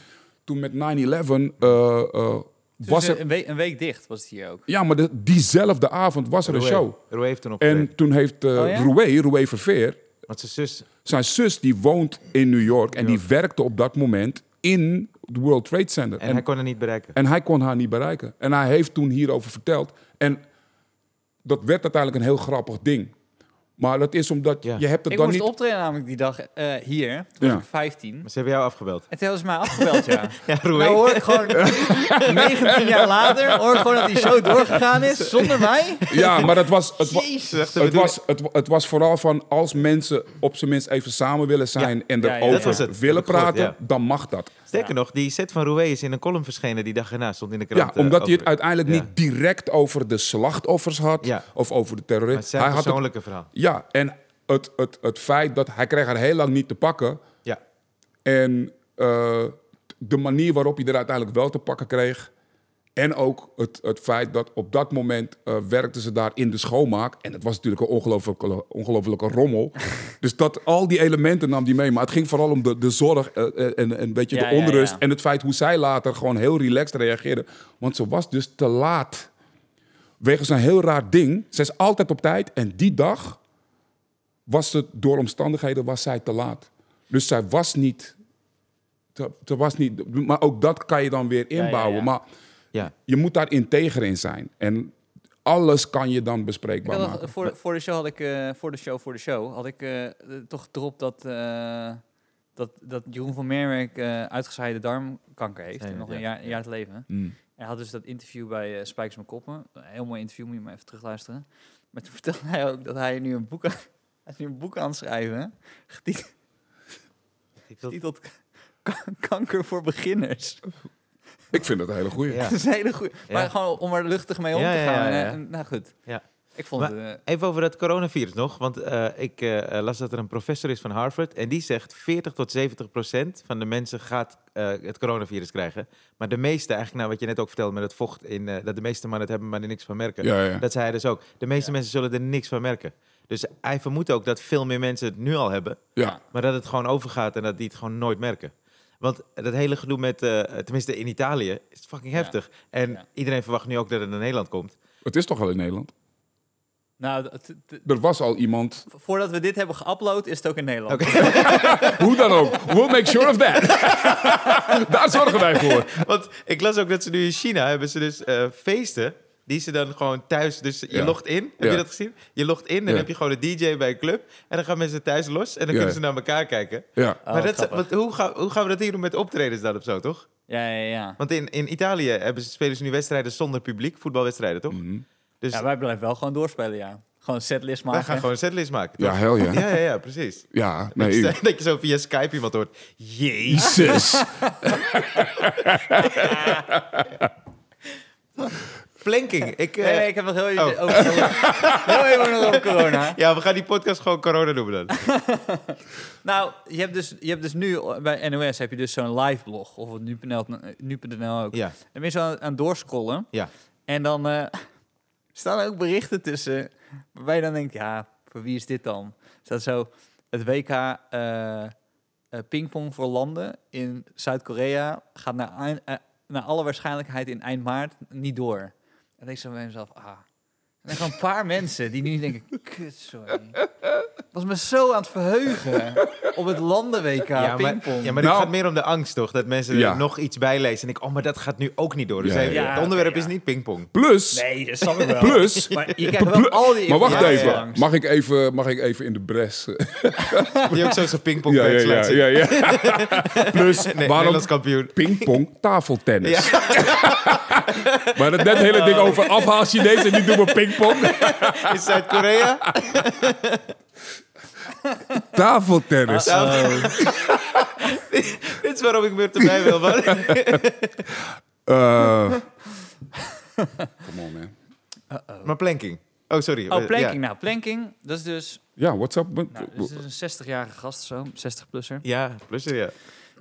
[SPEAKER 3] toen met 9-11 eh, eh, was
[SPEAKER 2] Was
[SPEAKER 3] er...
[SPEAKER 2] Dus een, week, een week dicht was het hier ook.
[SPEAKER 3] Ja, maar de- diezelfde avond was er een show.
[SPEAKER 1] Roe heeft toen opgetreden.
[SPEAKER 3] En toen heeft eh
[SPEAKER 2] Oh ja?
[SPEAKER 3] Roué, Roué Verveer,
[SPEAKER 1] Want zijn zus...
[SPEAKER 3] zijn zus die woont in New York en die werkte op dat moment in het World Trade Center.
[SPEAKER 1] En, hij kon haar niet bereiken.
[SPEAKER 3] en hij kon haar niet bereiken. En hij heeft toen hierover verteld. En dat werd uiteindelijk een heel grappig ding. Maar dat is omdat
[SPEAKER 1] Ja.
[SPEAKER 3] je hebt het
[SPEAKER 2] Ik
[SPEAKER 3] dan
[SPEAKER 2] moest
[SPEAKER 3] niet...
[SPEAKER 2] optreden namelijk die dag eh, hier. Toen
[SPEAKER 3] Ja.
[SPEAKER 2] was ik 15.
[SPEAKER 1] Maar ze hebben jou afgebeld.
[SPEAKER 2] En toen hadden ze mij afgebeld, [laughs] ja.
[SPEAKER 1] Ja, Roe.
[SPEAKER 2] Nou hoor ik
[SPEAKER 3] [laughs]
[SPEAKER 2] gewoon 19 jaar later hoor ik gewoon dat die show doorgegaan is zonder mij.
[SPEAKER 3] Ja, maar dat was...
[SPEAKER 2] [laughs]
[SPEAKER 3] Het, wa-
[SPEAKER 1] Jezus.
[SPEAKER 3] het, was, het, wa- het was vooral van als mensen op zijn minst even samen willen zijn... en
[SPEAKER 2] Ja, ja, dat
[SPEAKER 3] erover
[SPEAKER 1] was het.
[SPEAKER 3] willen
[SPEAKER 1] Dat heb ik gehoord,
[SPEAKER 3] praten, dan mag dat.
[SPEAKER 1] Sterker nog, die set van Roué is in een column verschenen die dag erna. Stond in de
[SPEAKER 3] Ja,
[SPEAKER 1] krant. eh,
[SPEAKER 3] omdat hij
[SPEAKER 1] over-
[SPEAKER 3] het uiteindelijk
[SPEAKER 1] Ja.
[SPEAKER 3] niet direct over de slachtoffers had
[SPEAKER 1] Ja.
[SPEAKER 3] of over de
[SPEAKER 1] Maar
[SPEAKER 3] terroristen.
[SPEAKER 1] zijn
[SPEAKER 3] Hij had het,
[SPEAKER 1] persoonlijke verhaal.
[SPEAKER 3] ja, en het, het, het feit dat hij kreeg haar heel lang niet te pakken
[SPEAKER 1] Ja.
[SPEAKER 3] en eh, de manier waarop hij er uiteindelijk wel te pakken kreeg. En ook het, het feit dat op dat moment eh, werkten ze daar in de schoonmaak. En het was natuurlijk een ongelofelijke, ongelofelijke
[SPEAKER 2] [laughs]
[SPEAKER 3] rommel. dus dat, al die elementen nam die mee. Maar het ging vooral om de, de zorg eh, eh, en, en een beetje
[SPEAKER 2] Ja,
[SPEAKER 3] de
[SPEAKER 2] ja,
[SPEAKER 3] onrust.
[SPEAKER 2] ja.
[SPEAKER 3] En het feit hoe zij later gewoon heel relaxed reageerde. Want ze was dus te laat. Wegens een heel raar ding. Ze is altijd op tijd. En die dag was ze, door omstandigheden was zij te laat. Dus zij was niet... Ze, ze was niet maar ook dat kan je dan weer
[SPEAKER 2] ja,
[SPEAKER 3] inbouwen.
[SPEAKER 2] ja.
[SPEAKER 3] Maar
[SPEAKER 1] Ja.
[SPEAKER 3] je moet daar integer in zijn. En alles kan je dan
[SPEAKER 2] Ik
[SPEAKER 3] bespreekbaar
[SPEAKER 2] had
[SPEAKER 3] maken.
[SPEAKER 2] nog- voor, voor de show had ik eh, voor de show voor de show had ik eh, eh, toch gedropt dat, eh, dat, dat Jeroen van Meerwerk eh uitgezaaide darmkanker heeft
[SPEAKER 1] Zijn
[SPEAKER 2] en nog
[SPEAKER 1] het,
[SPEAKER 2] een
[SPEAKER 1] ja.
[SPEAKER 2] jaar, een jaar te leven.
[SPEAKER 3] Mm.
[SPEAKER 2] En hij had dus dat interview bij eh, Spijkers met Koppen. Een heel mooi interview, moet je maar even terugluisteren. Maar toen [laughs] vertelde hij ook dat hij nu een boek aan, hij is nu een boek aan het schrijven, getit- getiteld Kan- Kanker voor beginners.
[SPEAKER 3] Ik vind dat een hele goeie.
[SPEAKER 1] Ja.
[SPEAKER 2] Dat is een hele goeie.
[SPEAKER 1] Ja.
[SPEAKER 2] Maar gewoon om er luchtig mee om
[SPEAKER 1] Ja,
[SPEAKER 2] te
[SPEAKER 1] ja,
[SPEAKER 2] gaan.
[SPEAKER 1] ja,
[SPEAKER 2] En,
[SPEAKER 1] ja.
[SPEAKER 2] eh, nou goed.
[SPEAKER 1] Ja.
[SPEAKER 2] Ik vond
[SPEAKER 1] Maar-
[SPEAKER 2] het... eh,
[SPEAKER 1] Even over het coronavirus nog, want eh, ik eh, las dat er een professor is van Harvard en die zegt 40 tot 70 procent van de mensen gaat eh, het coronavirus krijgen. Maar de meeste, eigenlijk nou wat je net ook vertelde met het vocht, in, eh, dat de meeste mannen het hebben maar er niks van merken.
[SPEAKER 3] Ja, ja.
[SPEAKER 1] Dat zei hij dus ook. De meeste mensen zullen er niks van merken. Dus hij vermoedt ook dat veel meer mensen het nu al hebben,
[SPEAKER 3] ja.
[SPEAKER 1] maar dat het gewoon overgaat en dat die het gewoon nooit merken. Want dat hele gedoe met, eh, tenminste in Italië, is fucking
[SPEAKER 2] Ja.
[SPEAKER 1] heftig. En
[SPEAKER 2] Ja.
[SPEAKER 1] iedereen verwacht nu ook dat het naar Nederland komt.
[SPEAKER 3] Het is toch al in Nederland?
[SPEAKER 2] nou, het- het-
[SPEAKER 3] Er was al iemand.
[SPEAKER 2] voordat we dit hebben geüpload, is het ook in Nederland.
[SPEAKER 1] Oké.
[SPEAKER 3] Hoe dan ook. We'll make sure of that. [laughs] Daar zorgen wij voor.
[SPEAKER 1] [laughs] Want ik las ook dat ze nu in China hebben ze dus eh, feesten. Die ze dan gewoon thuis. Dus je
[SPEAKER 3] Ja.
[SPEAKER 1] logt in. Heb
[SPEAKER 3] Ja.
[SPEAKER 1] je dat gezien? Je logt in. Dan
[SPEAKER 3] Ja.
[SPEAKER 1] heb je gewoon een DJ bij een club. En dan gaan mensen thuis los. En dan
[SPEAKER 3] Ja.
[SPEAKER 1] kunnen ze naar elkaar kijken.
[SPEAKER 3] Ja.
[SPEAKER 2] Oh,
[SPEAKER 1] maar
[SPEAKER 2] wat
[SPEAKER 1] dat, is-
[SPEAKER 2] grappig.
[SPEAKER 1] want hoe, gaan, hoe gaan we dat hier doen met optredens dan of zo, toch?
[SPEAKER 2] Ja, ja, ja.
[SPEAKER 1] Want in, in Italië hebben ze, spelen ze nu wedstrijden zonder publiek. Voetbalwedstrijden, toch?
[SPEAKER 3] Mhm.
[SPEAKER 1] Dus
[SPEAKER 2] Ja, wij blijven wel gewoon doorspelen, ja. Gewoon een setlist
[SPEAKER 1] wij
[SPEAKER 2] maken.
[SPEAKER 1] gaan gewoon een setlist maken.
[SPEAKER 3] Ja,
[SPEAKER 1] toch?
[SPEAKER 3] hel ja.
[SPEAKER 1] ja, ja, ja, precies.
[SPEAKER 3] Ja,
[SPEAKER 1] [laughs]
[SPEAKER 3] nee.
[SPEAKER 1] Dus dat je zo via Skype iemand hoort. Jezus.
[SPEAKER 3] Jezus.
[SPEAKER 1] Planking. Ik, eh,
[SPEAKER 2] Nee, nee, ik heb nog heel even
[SPEAKER 1] Oh.
[SPEAKER 2] over,
[SPEAKER 1] [laughs]
[SPEAKER 2] heel even nog over corona.
[SPEAKER 1] Ja, we gaan die podcast gewoon corona noemen dan.
[SPEAKER 2] Nou, je hebt dus, je hebt dus nu eh, bij NOS heb je dus zo'n live blog of op nu.nl eh, nu.nl ook.
[SPEAKER 1] Ja,
[SPEAKER 2] Dan ben je zo aan, aan het doorscrollen
[SPEAKER 1] ja.
[SPEAKER 2] en dan eh, [laughs] staan er ook berichten tussen waarbij je dan denkt, ja, voor wie is dit dan? Staat zo het WK eh, eh, pingpong voor landen in Zuid-Korea gaat naar, eind- eh, naar alle waarschijnlijkheid in eind maart niet door. En dan denk ik zo bij mezelf, ah. Er zijn gewoon een paar mensen die nu denken, [laughs] kut, sorry. Ik was me zo aan het verheugen op het landen-WK
[SPEAKER 1] Ja, maar,
[SPEAKER 2] pingpong.
[SPEAKER 1] ja, maar
[SPEAKER 3] Nou.
[SPEAKER 1] het gaat meer om de angst, toch? Dat mensen
[SPEAKER 3] Ja.
[SPEAKER 1] er nog iets bij lezen. En ik, oh, maar dat gaat nu ook niet door. Dus
[SPEAKER 3] Ja,
[SPEAKER 1] even-
[SPEAKER 2] ja.
[SPEAKER 1] het onderwerp
[SPEAKER 2] Ja, oké,
[SPEAKER 1] is
[SPEAKER 2] ja.
[SPEAKER 1] niet pingpong.
[SPEAKER 3] Plus.
[SPEAKER 2] Nee,
[SPEAKER 1] [laughs]
[SPEAKER 2] dat snap ik wel.
[SPEAKER 3] Plus.
[SPEAKER 2] Maar je krijgt wel al die
[SPEAKER 3] Maar wacht
[SPEAKER 2] informatie
[SPEAKER 3] even.
[SPEAKER 2] langs.
[SPEAKER 3] Mag ik even, mag ik even in de bres? eh,
[SPEAKER 1] Die ook zo zo'n pingpong
[SPEAKER 3] [laughs] Ja, ja, ja. ja, ja. [laughs] Plus,
[SPEAKER 1] Nee,
[SPEAKER 3] waarom
[SPEAKER 1] Nederlands kampioen.
[SPEAKER 3] pingpong tafeltennis? [laughs] maar dat net hele ding over afhaal Chinees en nu doen we pingpong.
[SPEAKER 1] In Zuid-Korea? [laughs]
[SPEAKER 3] Tafeltennis.
[SPEAKER 1] Dit is waarom ik meer erbij wil. man.
[SPEAKER 3] [laughs] Eh, Come on, man.
[SPEAKER 1] Maar planking. Oh, sorry.
[SPEAKER 2] Oh, planking.
[SPEAKER 1] Ja.
[SPEAKER 2] Nou, planking, dat is dus...
[SPEAKER 3] Ja, what's up? Wat-
[SPEAKER 2] Nou, dit is een 60-jarige gast of zo, 60-plusser.
[SPEAKER 1] Ja, plus ja.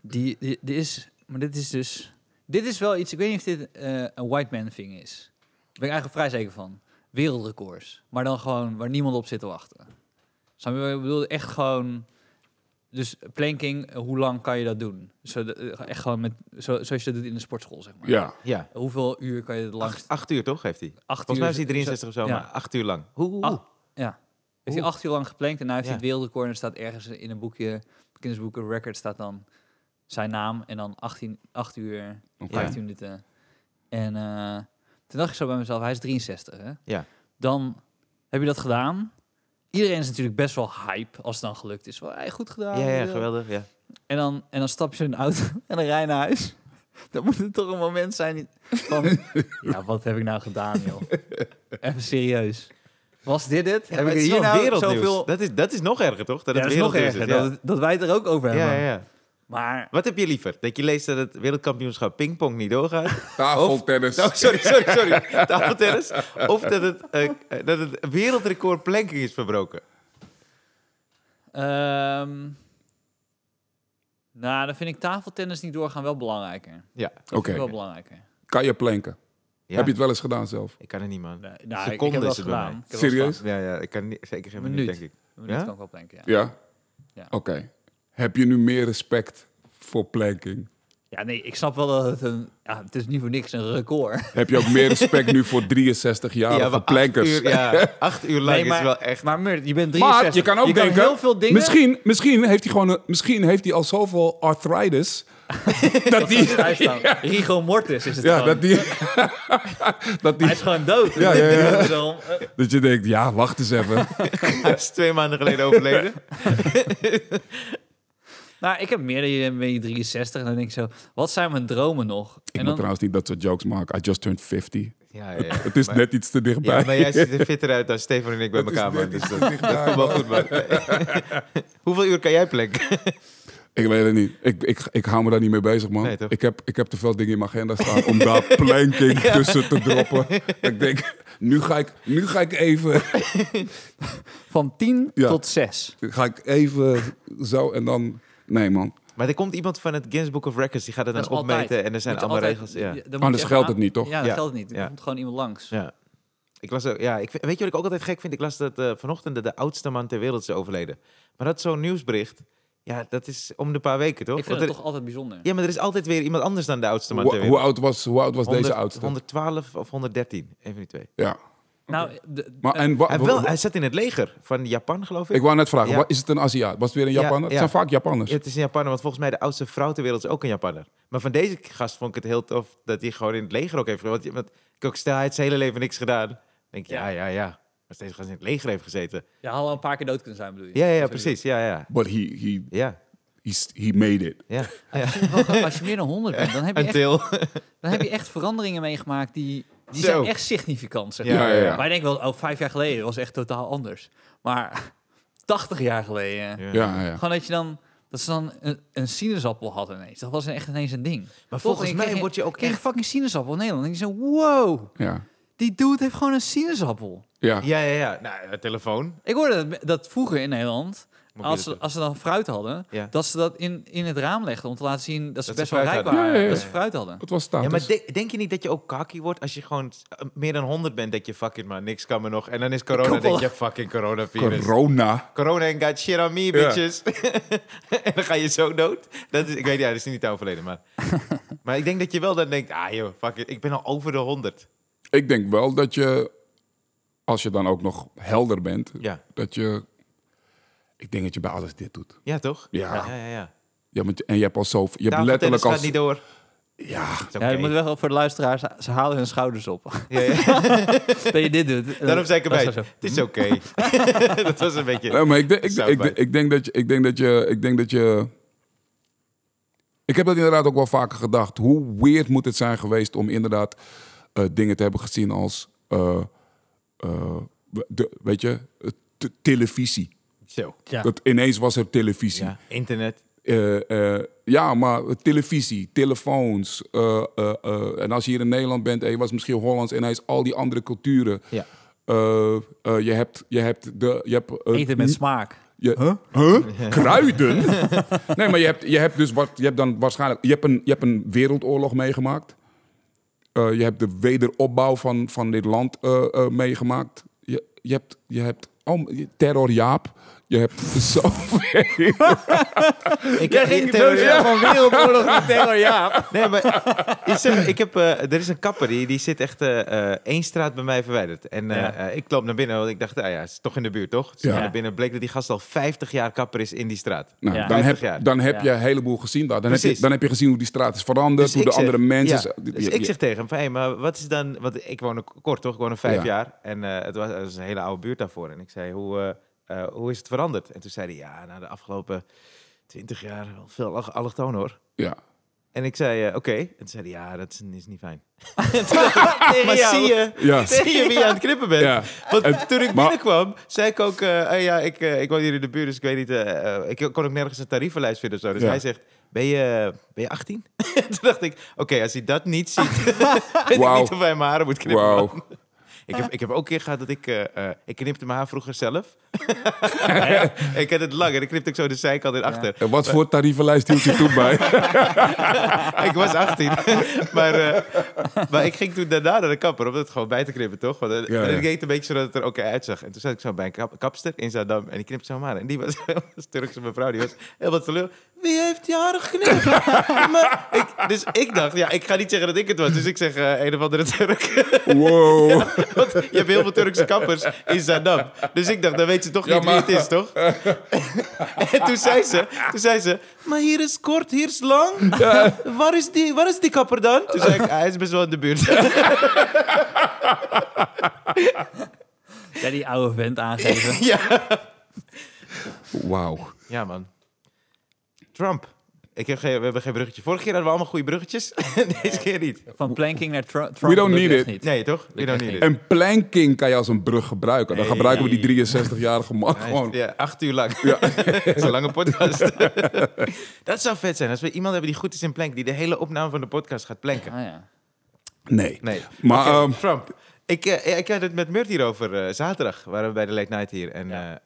[SPEAKER 2] Die, die, die is... Maar dit is dus... Dit is wel iets... Ik weet niet of dit eh, een white man thing is. Daar ben ik eigenlijk vrij zeker van. Wereldrecords. Maar dan gewoon waar niemand op zit te wachten. Snap je? Ik bedoel, echt gewoon... Dus planking, eh, hoe lang kan je dat doen? Zo, de- eh, echt gewoon met, zo, zoals je dat doet in de sportschool, zeg maar.
[SPEAKER 3] Ja,
[SPEAKER 1] ja.
[SPEAKER 2] Hoeveel uur kan je het langst?
[SPEAKER 1] Acht, acht uur toch, heeft hij?
[SPEAKER 2] Acht
[SPEAKER 1] Volgens mij is
[SPEAKER 2] uur-
[SPEAKER 1] hij 63 of zo,
[SPEAKER 2] Ja.
[SPEAKER 1] maar acht uur lang. Hoe, hoe, hoe.
[SPEAKER 2] Ah, ja. Heeft hij acht uur lang geplankt en nu heeft hij
[SPEAKER 1] Ja.
[SPEAKER 2] het wereldrecord. En er staat ergens in een boekje, Guinness Book of Records, staat dan zijn naam. En dan 18, 8 uur,
[SPEAKER 3] oké.
[SPEAKER 2] 15 minuten. En eh, toen dacht ik zo bij mezelf, hij is 63 hè?
[SPEAKER 1] Ja.
[SPEAKER 2] Dan heb je dat gedaan. Iedereen is natuurlijk best wel hype als het dan gelukt is. Wel, hey, goed gedaan.
[SPEAKER 1] Ja, ja,
[SPEAKER 2] joh.
[SPEAKER 1] geweldig. Ja.
[SPEAKER 2] En dan, en dan stap je in een auto [laughs] en dan rij je naar huis. [laughs] Dan moet het toch een moment zijn die-
[SPEAKER 1] [laughs]
[SPEAKER 2] van... ja, wat heb ik nou gedaan, joh? Even serieus. Was dit het?
[SPEAKER 1] Ja,
[SPEAKER 2] heb
[SPEAKER 1] maar
[SPEAKER 2] ik
[SPEAKER 1] het is
[SPEAKER 2] hier
[SPEAKER 1] wel
[SPEAKER 2] nou
[SPEAKER 1] wereldnieuws.
[SPEAKER 2] zoveel...
[SPEAKER 1] Dat, is, dat is nog erger, toch? Dat
[SPEAKER 2] Ja,
[SPEAKER 1] het
[SPEAKER 2] dat is nog
[SPEAKER 1] wereldnieuws
[SPEAKER 2] erger,
[SPEAKER 1] is, ja.
[SPEAKER 2] dat, dat wij het er ook over hebben.
[SPEAKER 1] ja, ja, ja.
[SPEAKER 2] Maar
[SPEAKER 1] Wat heb je liever? Dat je leest dat het wereldkampioenschap pingpong niet doorgaat? [laughs]
[SPEAKER 3] Tafeltennis.
[SPEAKER 1] Oh, sorry, sorry, sorry. Tafeltennis. Of dat het, eh, eh, dat het wereldrecord planking is verbroken.
[SPEAKER 2] ehm, nou, dan vind ik tafeltennis niet doorgaan wel belangrijker. Dat
[SPEAKER 1] Ja.
[SPEAKER 2] vind ik
[SPEAKER 3] Oké.
[SPEAKER 2] Nou, wel belangrijker.
[SPEAKER 3] Kan je planken?
[SPEAKER 1] ja.
[SPEAKER 3] Heb je het wel eens gedaan zelf?
[SPEAKER 1] Ik kan het niet, man.
[SPEAKER 2] Nee, nou, ik- ik,
[SPEAKER 1] Seconde
[SPEAKER 2] heb wel
[SPEAKER 1] is het bij
[SPEAKER 2] gedaan.
[SPEAKER 1] mij.
[SPEAKER 2] Ik heb wel
[SPEAKER 3] Serieus?
[SPEAKER 2] gedaan.
[SPEAKER 1] Ja, ja, ik kan niet, zeker geen
[SPEAKER 2] Een
[SPEAKER 1] minuut,
[SPEAKER 2] minuut.
[SPEAKER 1] denk ik.
[SPEAKER 2] Een minuut
[SPEAKER 1] Ja?
[SPEAKER 2] kan ik wel planken, ja.
[SPEAKER 3] Ja?
[SPEAKER 2] Ja.
[SPEAKER 3] Oké. Heb je nu meer respect voor planking?
[SPEAKER 2] Ja, nee, ik snap wel dat het een... Ja, het is niet voor niks een record.
[SPEAKER 3] Heb je ook meer respect nu voor
[SPEAKER 1] Ja,
[SPEAKER 3] 63-jarige
[SPEAKER 1] maar
[SPEAKER 3] plankers?
[SPEAKER 1] Acht uur, ja, acht uur lang
[SPEAKER 2] Nee, maar-
[SPEAKER 1] is wel echt...
[SPEAKER 2] Maar Murt, je bent 63.
[SPEAKER 3] Maar je kan ook denken,
[SPEAKER 2] heel veel dingen. [laughs]
[SPEAKER 3] Misschien, misschien, heeft hij gewoon een, misschien heeft hij al zoveel arthritis. dat die,
[SPEAKER 2] Thuis staan. Rigo Mortis is het
[SPEAKER 3] ja,
[SPEAKER 2] gewoon.
[SPEAKER 3] dat die, [laughs] dat
[SPEAKER 2] Hij
[SPEAKER 3] die,
[SPEAKER 2] is gewoon dood.
[SPEAKER 3] Ja, ja, ja.
[SPEAKER 2] [laughs] Dus dan, eh,
[SPEAKER 3] dat je denkt, ja, wacht eens even.
[SPEAKER 1] Hij is [laughs] twee maanden geleden [laughs] overleden.
[SPEAKER 2] Nou, ik heb meer dan je dan ben je 63 en dan denk ik zo, wat zijn mijn dromen nog?
[SPEAKER 3] Ik
[SPEAKER 2] en
[SPEAKER 3] moet
[SPEAKER 2] dan,
[SPEAKER 3] trouwens niet dat soort jokes maken. I just turned 50.
[SPEAKER 1] Ja, ja, ja.
[SPEAKER 3] Het is
[SPEAKER 1] Maar-
[SPEAKER 3] net iets te
[SPEAKER 1] Ja,
[SPEAKER 3] dichtbij.
[SPEAKER 1] maar jij ziet er fitter uit dan Stefan en ik [laughs] bij elkaar, man. Dus dat, dat komt wel goed, man. Hoeveel uur kan jij planken?
[SPEAKER 3] Ik weet het niet. Ik, ik, ik hou me daar niet mee bezig, man.
[SPEAKER 1] Nee, toch?
[SPEAKER 3] ik, heb, ik heb te veel dingen in mijn agenda staan om
[SPEAKER 1] [laughs]
[SPEAKER 3] daar planking tussen te droppen. Ik denk, nu ga ik, nu ga ik even...
[SPEAKER 2] Van 10
[SPEAKER 3] Ja.
[SPEAKER 2] tot 6.
[SPEAKER 3] Ga ik even zo en dan... Nee, man.
[SPEAKER 1] [laughs] Maar er komt iemand van het Guinness Book of Records, die gaat het dan opmeten en er zijn allemaal regels. Ja.
[SPEAKER 3] Anders Oh, dus geldt het niet, toch?
[SPEAKER 2] Ja, dat
[SPEAKER 1] Ja.
[SPEAKER 2] geldt het niet. Er
[SPEAKER 1] Ja.
[SPEAKER 2] komt gewoon iemand langs.
[SPEAKER 1] Ja. Ik las ook, ja, ik, vind- weet je wat ik ook altijd gek vind? Ik las dat eh, vanochtend de, de oudste man ter wereld is overleden. Maar dat is zo'n nieuwsbericht, ja, dat is om de paar weken, toch?
[SPEAKER 2] Ik vind
[SPEAKER 1] Want
[SPEAKER 2] het
[SPEAKER 1] er-
[SPEAKER 2] toch altijd bijzonder.
[SPEAKER 1] Ja, maar er is altijd weer iemand anders dan de oudste man ter
[SPEAKER 3] Hoe, hoe
[SPEAKER 1] wereld.
[SPEAKER 3] oud was, hoe oud was deze
[SPEAKER 1] 100
[SPEAKER 3] oudste?
[SPEAKER 1] 112 of 113, even die twee.
[SPEAKER 3] Ja.
[SPEAKER 2] Nou, de-
[SPEAKER 3] Maar, en, wa-
[SPEAKER 1] Hij, heeft wel, hij zat in het leger van Japan, geloof ik.
[SPEAKER 3] ik wou net vragen,
[SPEAKER 1] Ja.
[SPEAKER 3] wa- is het een Aziat? Was het weer een
[SPEAKER 1] Ja,
[SPEAKER 3] Japaner? Het
[SPEAKER 1] ja.
[SPEAKER 3] zijn vaak Japanners.
[SPEAKER 1] Ja, het is een Japanner, want volgens mij de oudste vrouw ter wereld is ook een Japanner. Maar van deze gast vond ik het heel tof dat hij gewoon in het leger ook heeft gezeten. Want, want ik ook stel, hij heeft zijn hele leven niks gedaan. Dan denk ik, ja, ja, ja. Als deze gast in het leger heeft gezeten.
[SPEAKER 2] je had al een paar keer dood kunnen zijn, bedoel je?
[SPEAKER 1] Ja, ja, ja,
[SPEAKER 2] Sorry.
[SPEAKER 1] precies. Ja, ja.
[SPEAKER 3] But he, he,
[SPEAKER 1] Ja,
[SPEAKER 3] he, he made it.
[SPEAKER 1] ja. ja.
[SPEAKER 2] Als je meer dan 100 bent, dan
[SPEAKER 1] [laughs]
[SPEAKER 2] heb je
[SPEAKER 1] Een
[SPEAKER 2] echt
[SPEAKER 1] til.
[SPEAKER 2] Dan heb je echt veranderingen meegemaakt die, die
[SPEAKER 1] Zo.
[SPEAKER 2] zijn echt significant. Zeg
[SPEAKER 1] Ja,
[SPEAKER 2] maar.
[SPEAKER 3] ja, ja.
[SPEAKER 2] maar je denkt wel, oh, vijf jaar geleden was echt totaal anders. Maar [laughs] 80 jaar geleden,
[SPEAKER 3] Ja, ja.
[SPEAKER 2] gewoon dat je dan dat ze dan een, een sinaasappel hadden ineens. Dat was echt ineens een ding.
[SPEAKER 1] Maar volgens
[SPEAKER 2] Ik
[SPEAKER 1] mij
[SPEAKER 2] kreeg-
[SPEAKER 1] word je ook
[SPEAKER 2] ik kreeg
[SPEAKER 1] echt-
[SPEAKER 2] een fucking sinaasappel in Nederland. En ik zei, wow,
[SPEAKER 3] Ja.
[SPEAKER 2] die dude heeft gewoon een sinaasappel.
[SPEAKER 3] Ja.
[SPEAKER 1] Ja, ja, ja. Nou, ja, telefoon.
[SPEAKER 2] Ik hoorde dat, dat vroeger in Nederland,
[SPEAKER 1] Mobiele
[SPEAKER 2] als ze,
[SPEAKER 1] telefoon.
[SPEAKER 2] als ze dan fruit hadden,
[SPEAKER 1] Ja.
[SPEAKER 2] dat ze dat in, in het raam legden om te laten zien dat ze
[SPEAKER 1] Dat ze
[SPEAKER 2] best wel
[SPEAKER 1] fruit
[SPEAKER 2] rijk
[SPEAKER 1] hadden.
[SPEAKER 2] waren.
[SPEAKER 3] Ja, ja, ja.
[SPEAKER 2] Dat ze fruit hadden.
[SPEAKER 3] Het was
[SPEAKER 1] Ja,
[SPEAKER 3] status.
[SPEAKER 1] maar de- denk je niet dat je ook kaki wordt als je gewoon eh, meer dan 100 bent? Dat je fucking maar niks kan me nog. En dan is corona,
[SPEAKER 2] Koppel.
[SPEAKER 1] denk je fucking coronavirus.
[SPEAKER 3] Corona.
[SPEAKER 1] Corona ain't got shit on me, bitches. [laughs] en dan ga je zo dood. Dat is, ik weet ja, dat is niet overleden,
[SPEAKER 3] [laughs]
[SPEAKER 1] maar... maar ik denk dat je wel dan denkt, ah joh, fuck it, ik ben al over de 100.
[SPEAKER 3] Ik denk wel dat je, als je dan ook nog helder bent,
[SPEAKER 1] Ja,
[SPEAKER 3] dat je... Ik denk dat je bij alles dit doet.
[SPEAKER 1] ja toch?
[SPEAKER 3] Ja.
[SPEAKER 1] ja, ja. ja.
[SPEAKER 3] Ja, want, je- en je hebt al zo... Je hebt
[SPEAKER 1] Tafeltennis
[SPEAKER 3] letterlijk al...
[SPEAKER 1] gaat niet door.
[SPEAKER 3] Ja,
[SPEAKER 1] Is oké.
[SPEAKER 2] Ja, je moet wel voor de luisteraars, ze- ze halen hun schouders op.
[SPEAKER 1] Ja, ja.
[SPEAKER 2] [laughs] dat je dit
[SPEAKER 1] [laughs]
[SPEAKER 2] doet.
[SPEAKER 1] Daarom zei ik erbij,
[SPEAKER 2] Dat is
[SPEAKER 1] het is oké.
[SPEAKER 2] [laughs]
[SPEAKER 1] [laughs] dat was een beetje...
[SPEAKER 3] Nee, maar ik, denk- ik,
[SPEAKER 1] Soundbite.
[SPEAKER 3] ik, denk- ik denk dat je, ik denk dat je, ik denk dat je, ik heb dat inderdaad ook wel vaker gedacht. Hoe weird moet het zijn geweest om inderdaad eh, dingen te hebben gezien als, eh, eh, de, weet je, eh, te- televisie.
[SPEAKER 1] Zo.
[SPEAKER 2] Ja.
[SPEAKER 3] Dat ineens was er televisie.
[SPEAKER 1] Ja, internet.
[SPEAKER 3] Eh, eh, ja, maar televisie, telefoons. eh, eh, eh, en als je hier in Nederland bent en je was misschien Hollands en hij is al die andere culturen.
[SPEAKER 1] Ja.
[SPEAKER 3] Eh, eh, je hebt, je hebt, de, je hebt eh,
[SPEAKER 2] Eten met smaak.
[SPEAKER 3] je, huh? Kruiden? nee, maar je hebt, je hebt dus wat, je hebt dan waarschijnlijk, je hebt een, je hebt een wereldoorlog meegemaakt. Eh, je hebt de wederopbouw van, van dit land eh, eh, meegemaakt. Je, je hebt, je hebt oh, terror Jaap. Je hebt [laughs] Nou, zoveel.
[SPEAKER 1] Ik
[SPEAKER 2] Jij ging
[SPEAKER 3] dus
[SPEAKER 2] doodgaan van wereldoorlog
[SPEAKER 1] Oh,
[SPEAKER 2] naar terror, ja.
[SPEAKER 1] Nee, maar ik zeg, ik heb, eh, er is een kapper die, die zit echt eh, eh, één straat bij mij verwijderd. En eh,
[SPEAKER 2] Ja.
[SPEAKER 1] eh, ik loop naar binnen, want ik dacht, ah ja, het is toch in de buurt, toch? Dus ik
[SPEAKER 3] Ja.
[SPEAKER 1] ga naar binnen bleek dat die gast al 50 jaar kapper is in die straat.
[SPEAKER 3] Nou,
[SPEAKER 2] Ja.
[SPEAKER 3] dan,
[SPEAKER 1] 50
[SPEAKER 3] heb,
[SPEAKER 1] jaar.
[SPEAKER 3] dan heb
[SPEAKER 2] Ja.
[SPEAKER 3] je een heleboel gezien daar. Dan heb,
[SPEAKER 1] Precies. Dus
[SPEAKER 3] je, dan heb je gezien hoe die straat is veranderd, hoe
[SPEAKER 1] ik
[SPEAKER 3] de
[SPEAKER 1] zeg-
[SPEAKER 3] andere mensen...
[SPEAKER 1] ja, dus ik zeg tegen hem van, hé, maar wat is dan... Want ik woon ook kort, toch? Ik woon er vijf
[SPEAKER 3] Ja.
[SPEAKER 1] jaar. En eh, het, was, het was een hele oude buurt daarvoor. En ik zei, hoe, eh, eh, hoe is het veranderd? En toen zei hij, ja, na de afgelopen 20 jaar wel veel allochtoon hoor.
[SPEAKER 3] ja.
[SPEAKER 1] En ik zei, eh, oké. En toen zei hij, ja, dat is, is niet
[SPEAKER 3] [laughs]
[SPEAKER 1] fijn. [laughs]
[SPEAKER 2] Maar
[SPEAKER 1] Maar zie je, [laughs]
[SPEAKER 3] Ja.
[SPEAKER 1] zie je wie je aan het knippen bent?
[SPEAKER 3] Ja.
[SPEAKER 1] Want
[SPEAKER 3] Het-
[SPEAKER 1] toen ik
[SPEAKER 3] maar-
[SPEAKER 1] binnenkwam, zei ik ook... eh, eh, ja, ik, eh, ik woon hier in de buurt, dus ik weet niet... eh, eh, ik kon ook nergens een tarievenlijst vinden of zo. Dus
[SPEAKER 3] Ja.
[SPEAKER 1] hij zegt, ben je, ben je 18? [laughs] toen dacht ik, oké, als hij dat niet ziet... [laughs] weet
[SPEAKER 3] Wauw.
[SPEAKER 1] ik niet of hij mijn haren moet knippen.
[SPEAKER 3] Wauw.
[SPEAKER 1] Ik, heb, ik heb ook een keer gehad dat ik... eh, eh, ik knipte mijn haar vroeger zelf. [laughs] ik had het lang en ik knipte ook zo de zijkant in achter.
[SPEAKER 3] En wat voor tarievenlijst hield je toen
[SPEAKER 1] [laughs]
[SPEAKER 3] bij?
[SPEAKER 1] ik was 18. [laughs] maar, eh, maar ik ging toen daarna naar de kapper om het gewoon bij te knippen, toch? Want, eh,
[SPEAKER 3] Ja,
[SPEAKER 1] en
[SPEAKER 3] ja.
[SPEAKER 1] ik deed het een beetje zodat het er ook uitzag. En toen zat ik zo bij een kap- kapster in Zaandam en die knipte zo maar. En die was [laughs] een Turkse mevrouw, die was helemaal teleur. Wie heeft die haren geknipt? [laughs] maar ik, dus ik dacht, ja, ik ga niet zeggen dat ik het was. Dus ik zeg eh, een of andere Turk.
[SPEAKER 3] Wow.
[SPEAKER 1] Want je hebt heel veel Turkse kappers in Zaandam. Dus ik dacht, dan weet ze toch
[SPEAKER 3] Ja,
[SPEAKER 1] niet
[SPEAKER 3] maar-
[SPEAKER 1] wie het is,
[SPEAKER 3] [laughs]
[SPEAKER 1] toch? en toen zei, ze, toen zei ze, maar hier is kort, hier is lang. Waar, is die, waar is die kapper dan? Toen zei ik, "Ah, hij is best wel in de buurt.
[SPEAKER 2] Ja, die oude vent aangeven.
[SPEAKER 1] ja.
[SPEAKER 3] Wauw.
[SPEAKER 1] ja, man. Trump. Ik Ik heb geen, we hebben geen bruggetje. Vorige keer hadden we allemaal goede bruggetjes. [laughs] Deze keer niet.
[SPEAKER 2] Van planking naar Trump.
[SPEAKER 3] We don't need it.
[SPEAKER 2] Niet.
[SPEAKER 1] Nee, toch? We
[SPEAKER 2] Ik
[SPEAKER 1] don't
[SPEAKER 2] echt
[SPEAKER 1] need it.
[SPEAKER 3] En planking kan je als een brug gebruiken. Dan
[SPEAKER 1] Hey.
[SPEAKER 3] gebruiken we die 63-jarige man gewoon.
[SPEAKER 1] Ja, acht uur lang. [laughs] Dat is een lange
[SPEAKER 3] [laughs]
[SPEAKER 1] podcast. dat zou vet zijn als we iemand hebben die goed is in plank, die de hele opname van de podcast gaat planken.
[SPEAKER 2] Ah, ja.
[SPEAKER 3] Nee.
[SPEAKER 1] Nee.
[SPEAKER 3] Maar
[SPEAKER 1] Oké,
[SPEAKER 3] ehm,
[SPEAKER 1] Trump, ik, eh, ik had het met Murt hierover eh, zaterdag. Waren we bij de Late Night hier. En eh, eh,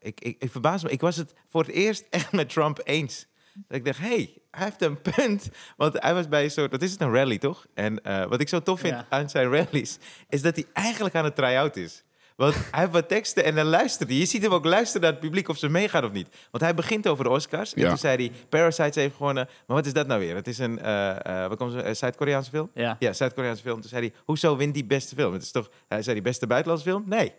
[SPEAKER 1] ik, ik, ik verbaas me. Ik was het voor het eerst echt met Trump eens. Dat ik dacht, hé, hey, hij heeft een punt. Want hij was bij een soort, wat is het, een rally toch? En eh, wat ik zo tof vind
[SPEAKER 2] Ja.
[SPEAKER 1] aan zijn rallies, is dat hij eigenlijk aan het try-out is. Want hij heeft wat teksten en dan luistert hij. Je ziet hem ook luisteren naar het publiek of ze meegaan of niet. Want hij begint over de Oscars. En
[SPEAKER 3] Ja.
[SPEAKER 1] toen zei hij, Parasites heeft gewonnen. Maar wat is dat nou weer? Het is een, eh, eh, wat komt ze, eh, Zuid-Koreaanse film?
[SPEAKER 2] Ja.
[SPEAKER 1] Ja, Zuid-Koreaanse film. Toen zei hij, hoezo wint die beste film? Het is toch, hij zei die beste buitenlandse film? Nee,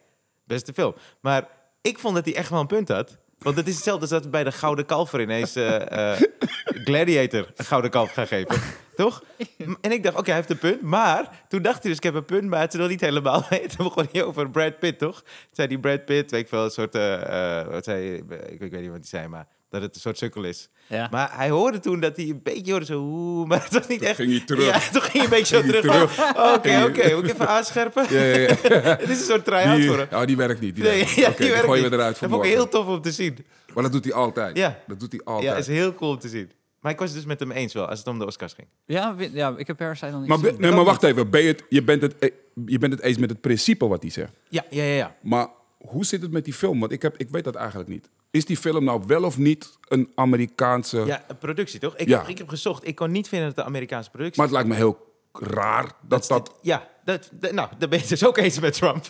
[SPEAKER 1] beste film. Maar ik vond dat hij echt wel een punt had. Want het is hetzelfde als dat we bij de Gouden Kalver ineens
[SPEAKER 2] [laughs]
[SPEAKER 1] eh, eh, Gladiator een Gouden Kalf gaan geven. Toch? M- En ik dacht, oké, hij heeft een punt. Maar toen dacht hij dus, ik heb een punt, maar het is nog niet helemaal. [laughs] Toen begon hij over Brad Pitt, toch? Toen zei die Brad Pitt, weet ik veel, een soort... eh, eh, wat zei, hij? ik, ik weet niet wat hij zei, maar dat het een soort sukkel is.
[SPEAKER 2] Ja.
[SPEAKER 1] Maar hij hoorde toen dat hij een beetje hoorde zo... Oeh, maar het was niet echt...
[SPEAKER 3] ging hij terug.
[SPEAKER 1] Ja, [laughs] toen ging hij een beetje zo
[SPEAKER 3] Ging hij
[SPEAKER 1] terug.
[SPEAKER 3] terug.
[SPEAKER 1] Oh, Oké,
[SPEAKER 3] Ging-
[SPEAKER 1] oké, moet ik even aanscherpen? [laughs]
[SPEAKER 3] ja, [laughs] ja, ja.
[SPEAKER 1] Het is een soort try-out
[SPEAKER 3] Die,
[SPEAKER 1] voor hem.
[SPEAKER 3] oh, die werkt niet. Die
[SPEAKER 1] Nee, [laughs]
[SPEAKER 3] werkt
[SPEAKER 1] ja,
[SPEAKER 3] niet. Oké,
[SPEAKER 1] die
[SPEAKER 3] die
[SPEAKER 1] werkt
[SPEAKER 3] gooien
[SPEAKER 1] niet.
[SPEAKER 3] we eruit voor
[SPEAKER 1] Dat vond ik
[SPEAKER 3] morgen.
[SPEAKER 1] heel tof om te zien.
[SPEAKER 3] Maar dat doet hij altijd.
[SPEAKER 1] Ja.
[SPEAKER 3] Dat doet hij
[SPEAKER 1] Ja,
[SPEAKER 3] altijd.
[SPEAKER 1] is heel cool om te zien. Maar ik was het dus met hem eens wel, als het om de Oscars ging.
[SPEAKER 2] Ja, we- ja, ik heb Parasite nog niet
[SPEAKER 3] maar, be-
[SPEAKER 2] gezien.
[SPEAKER 3] nee, maar wacht even. Ben je, het, je, bent het, eh, je bent het eens met het principe wat hij zegt.
[SPEAKER 1] Ja, ja, ja. ja.
[SPEAKER 3] Maar hoe zit het met die film? Want ik, heb, ik weet dat eigenlijk niet. Is die film nou wel of niet een Amerikaanse...
[SPEAKER 1] Ja, een productie toch? Ik,
[SPEAKER 3] Ja.
[SPEAKER 1] heb, ik heb gezocht, ik kon niet vinden dat het een Amerikaanse productie
[SPEAKER 3] Maar het lijkt me heel raar dat dat...
[SPEAKER 1] Ja, dat, dat- nou, daar ben je het dus ook eens met Trump.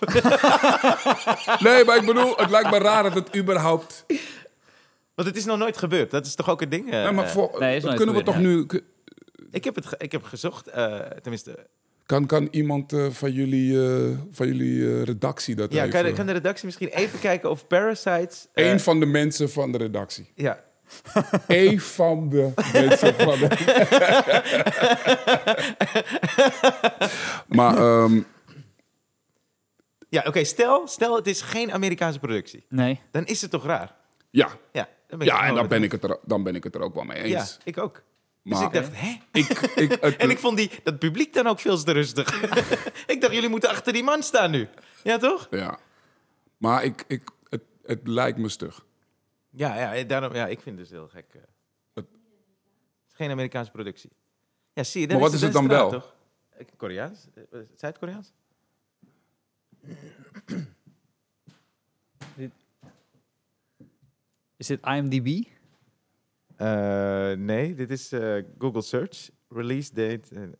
[SPEAKER 1] [laughs]
[SPEAKER 3] Nee, maar ik bedoel, het lijkt me raar dat het überhaupt...
[SPEAKER 1] Want het is nog nooit gebeurd. Dat is toch ook een ding? eh,
[SPEAKER 3] Nee, maar
[SPEAKER 1] eh,
[SPEAKER 3] voor,
[SPEAKER 2] nee,
[SPEAKER 3] dat
[SPEAKER 2] is nooit
[SPEAKER 3] kunnen we toch
[SPEAKER 2] gebeurd,
[SPEAKER 3] nu...
[SPEAKER 1] ik, heb het ge- ik heb gezocht, eh, tenminste...
[SPEAKER 3] Kan, kan iemand eh, van jullie, eh, van jullie eh, redactie dat
[SPEAKER 1] Ja,
[SPEAKER 3] even...
[SPEAKER 1] kan, de- kan de redactie misschien even kijken of Parasites... eh,
[SPEAKER 3] Eén van de mensen van de redactie.
[SPEAKER 1] Ja,
[SPEAKER 3] Eén van de
[SPEAKER 1] [laughs]
[SPEAKER 3] mensen van de... maar ehm,
[SPEAKER 1] ja oké, stel, stel het is geen Amerikaanse productie.
[SPEAKER 2] Nee.
[SPEAKER 1] Dan is het toch raar?
[SPEAKER 3] ja,
[SPEAKER 1] Ja, dan ben ik
[SPEAKER 3] ja en dan
[SPEAKER 1] dat
[SPEAKER 3] ben, ik het er, dan ben ik het er ook wel mee
[SPEAKER 1] Ja,
[SPEAKER 3] eens.
[SPEAKER 1] ik ook.
[SPEAKER 3] Maar- Eh.
[SPEAKER 1] dus ik dacht, hè?
[SPEAKER 3] Ik, ik, het-
[SPEAKER 1] [laughs] En ik vond die, dat publiek dan ook veel te rustig.
[SPEAKER 3] [laughs]
[SPEAKER 1] ik dacht, jullie moeten achter die man staan nu. Ja, toch?
[SPEAKER 3] Ja. Maar ik, ik, het, het lijkt me stug.
[SPEAKER 1] Ja, ja, daarom, ja ik vind het dus heel gek. eh.
[SPEAKER 3] Het-
[SPEAKER 1] Het is geen Amerikaanse productie. Ja, zie je.
[SPEAKER 3] Maar wat is het dan wel?
[SPEAKER 1] toch? Eh, Koreaans? Eh, eh, Zuid-Koreaans?
[SPEAKER 2] Is dit IMDb?
[SPEAKER 1] Eh, nee, dit is eh, Google Search. Release date. eh,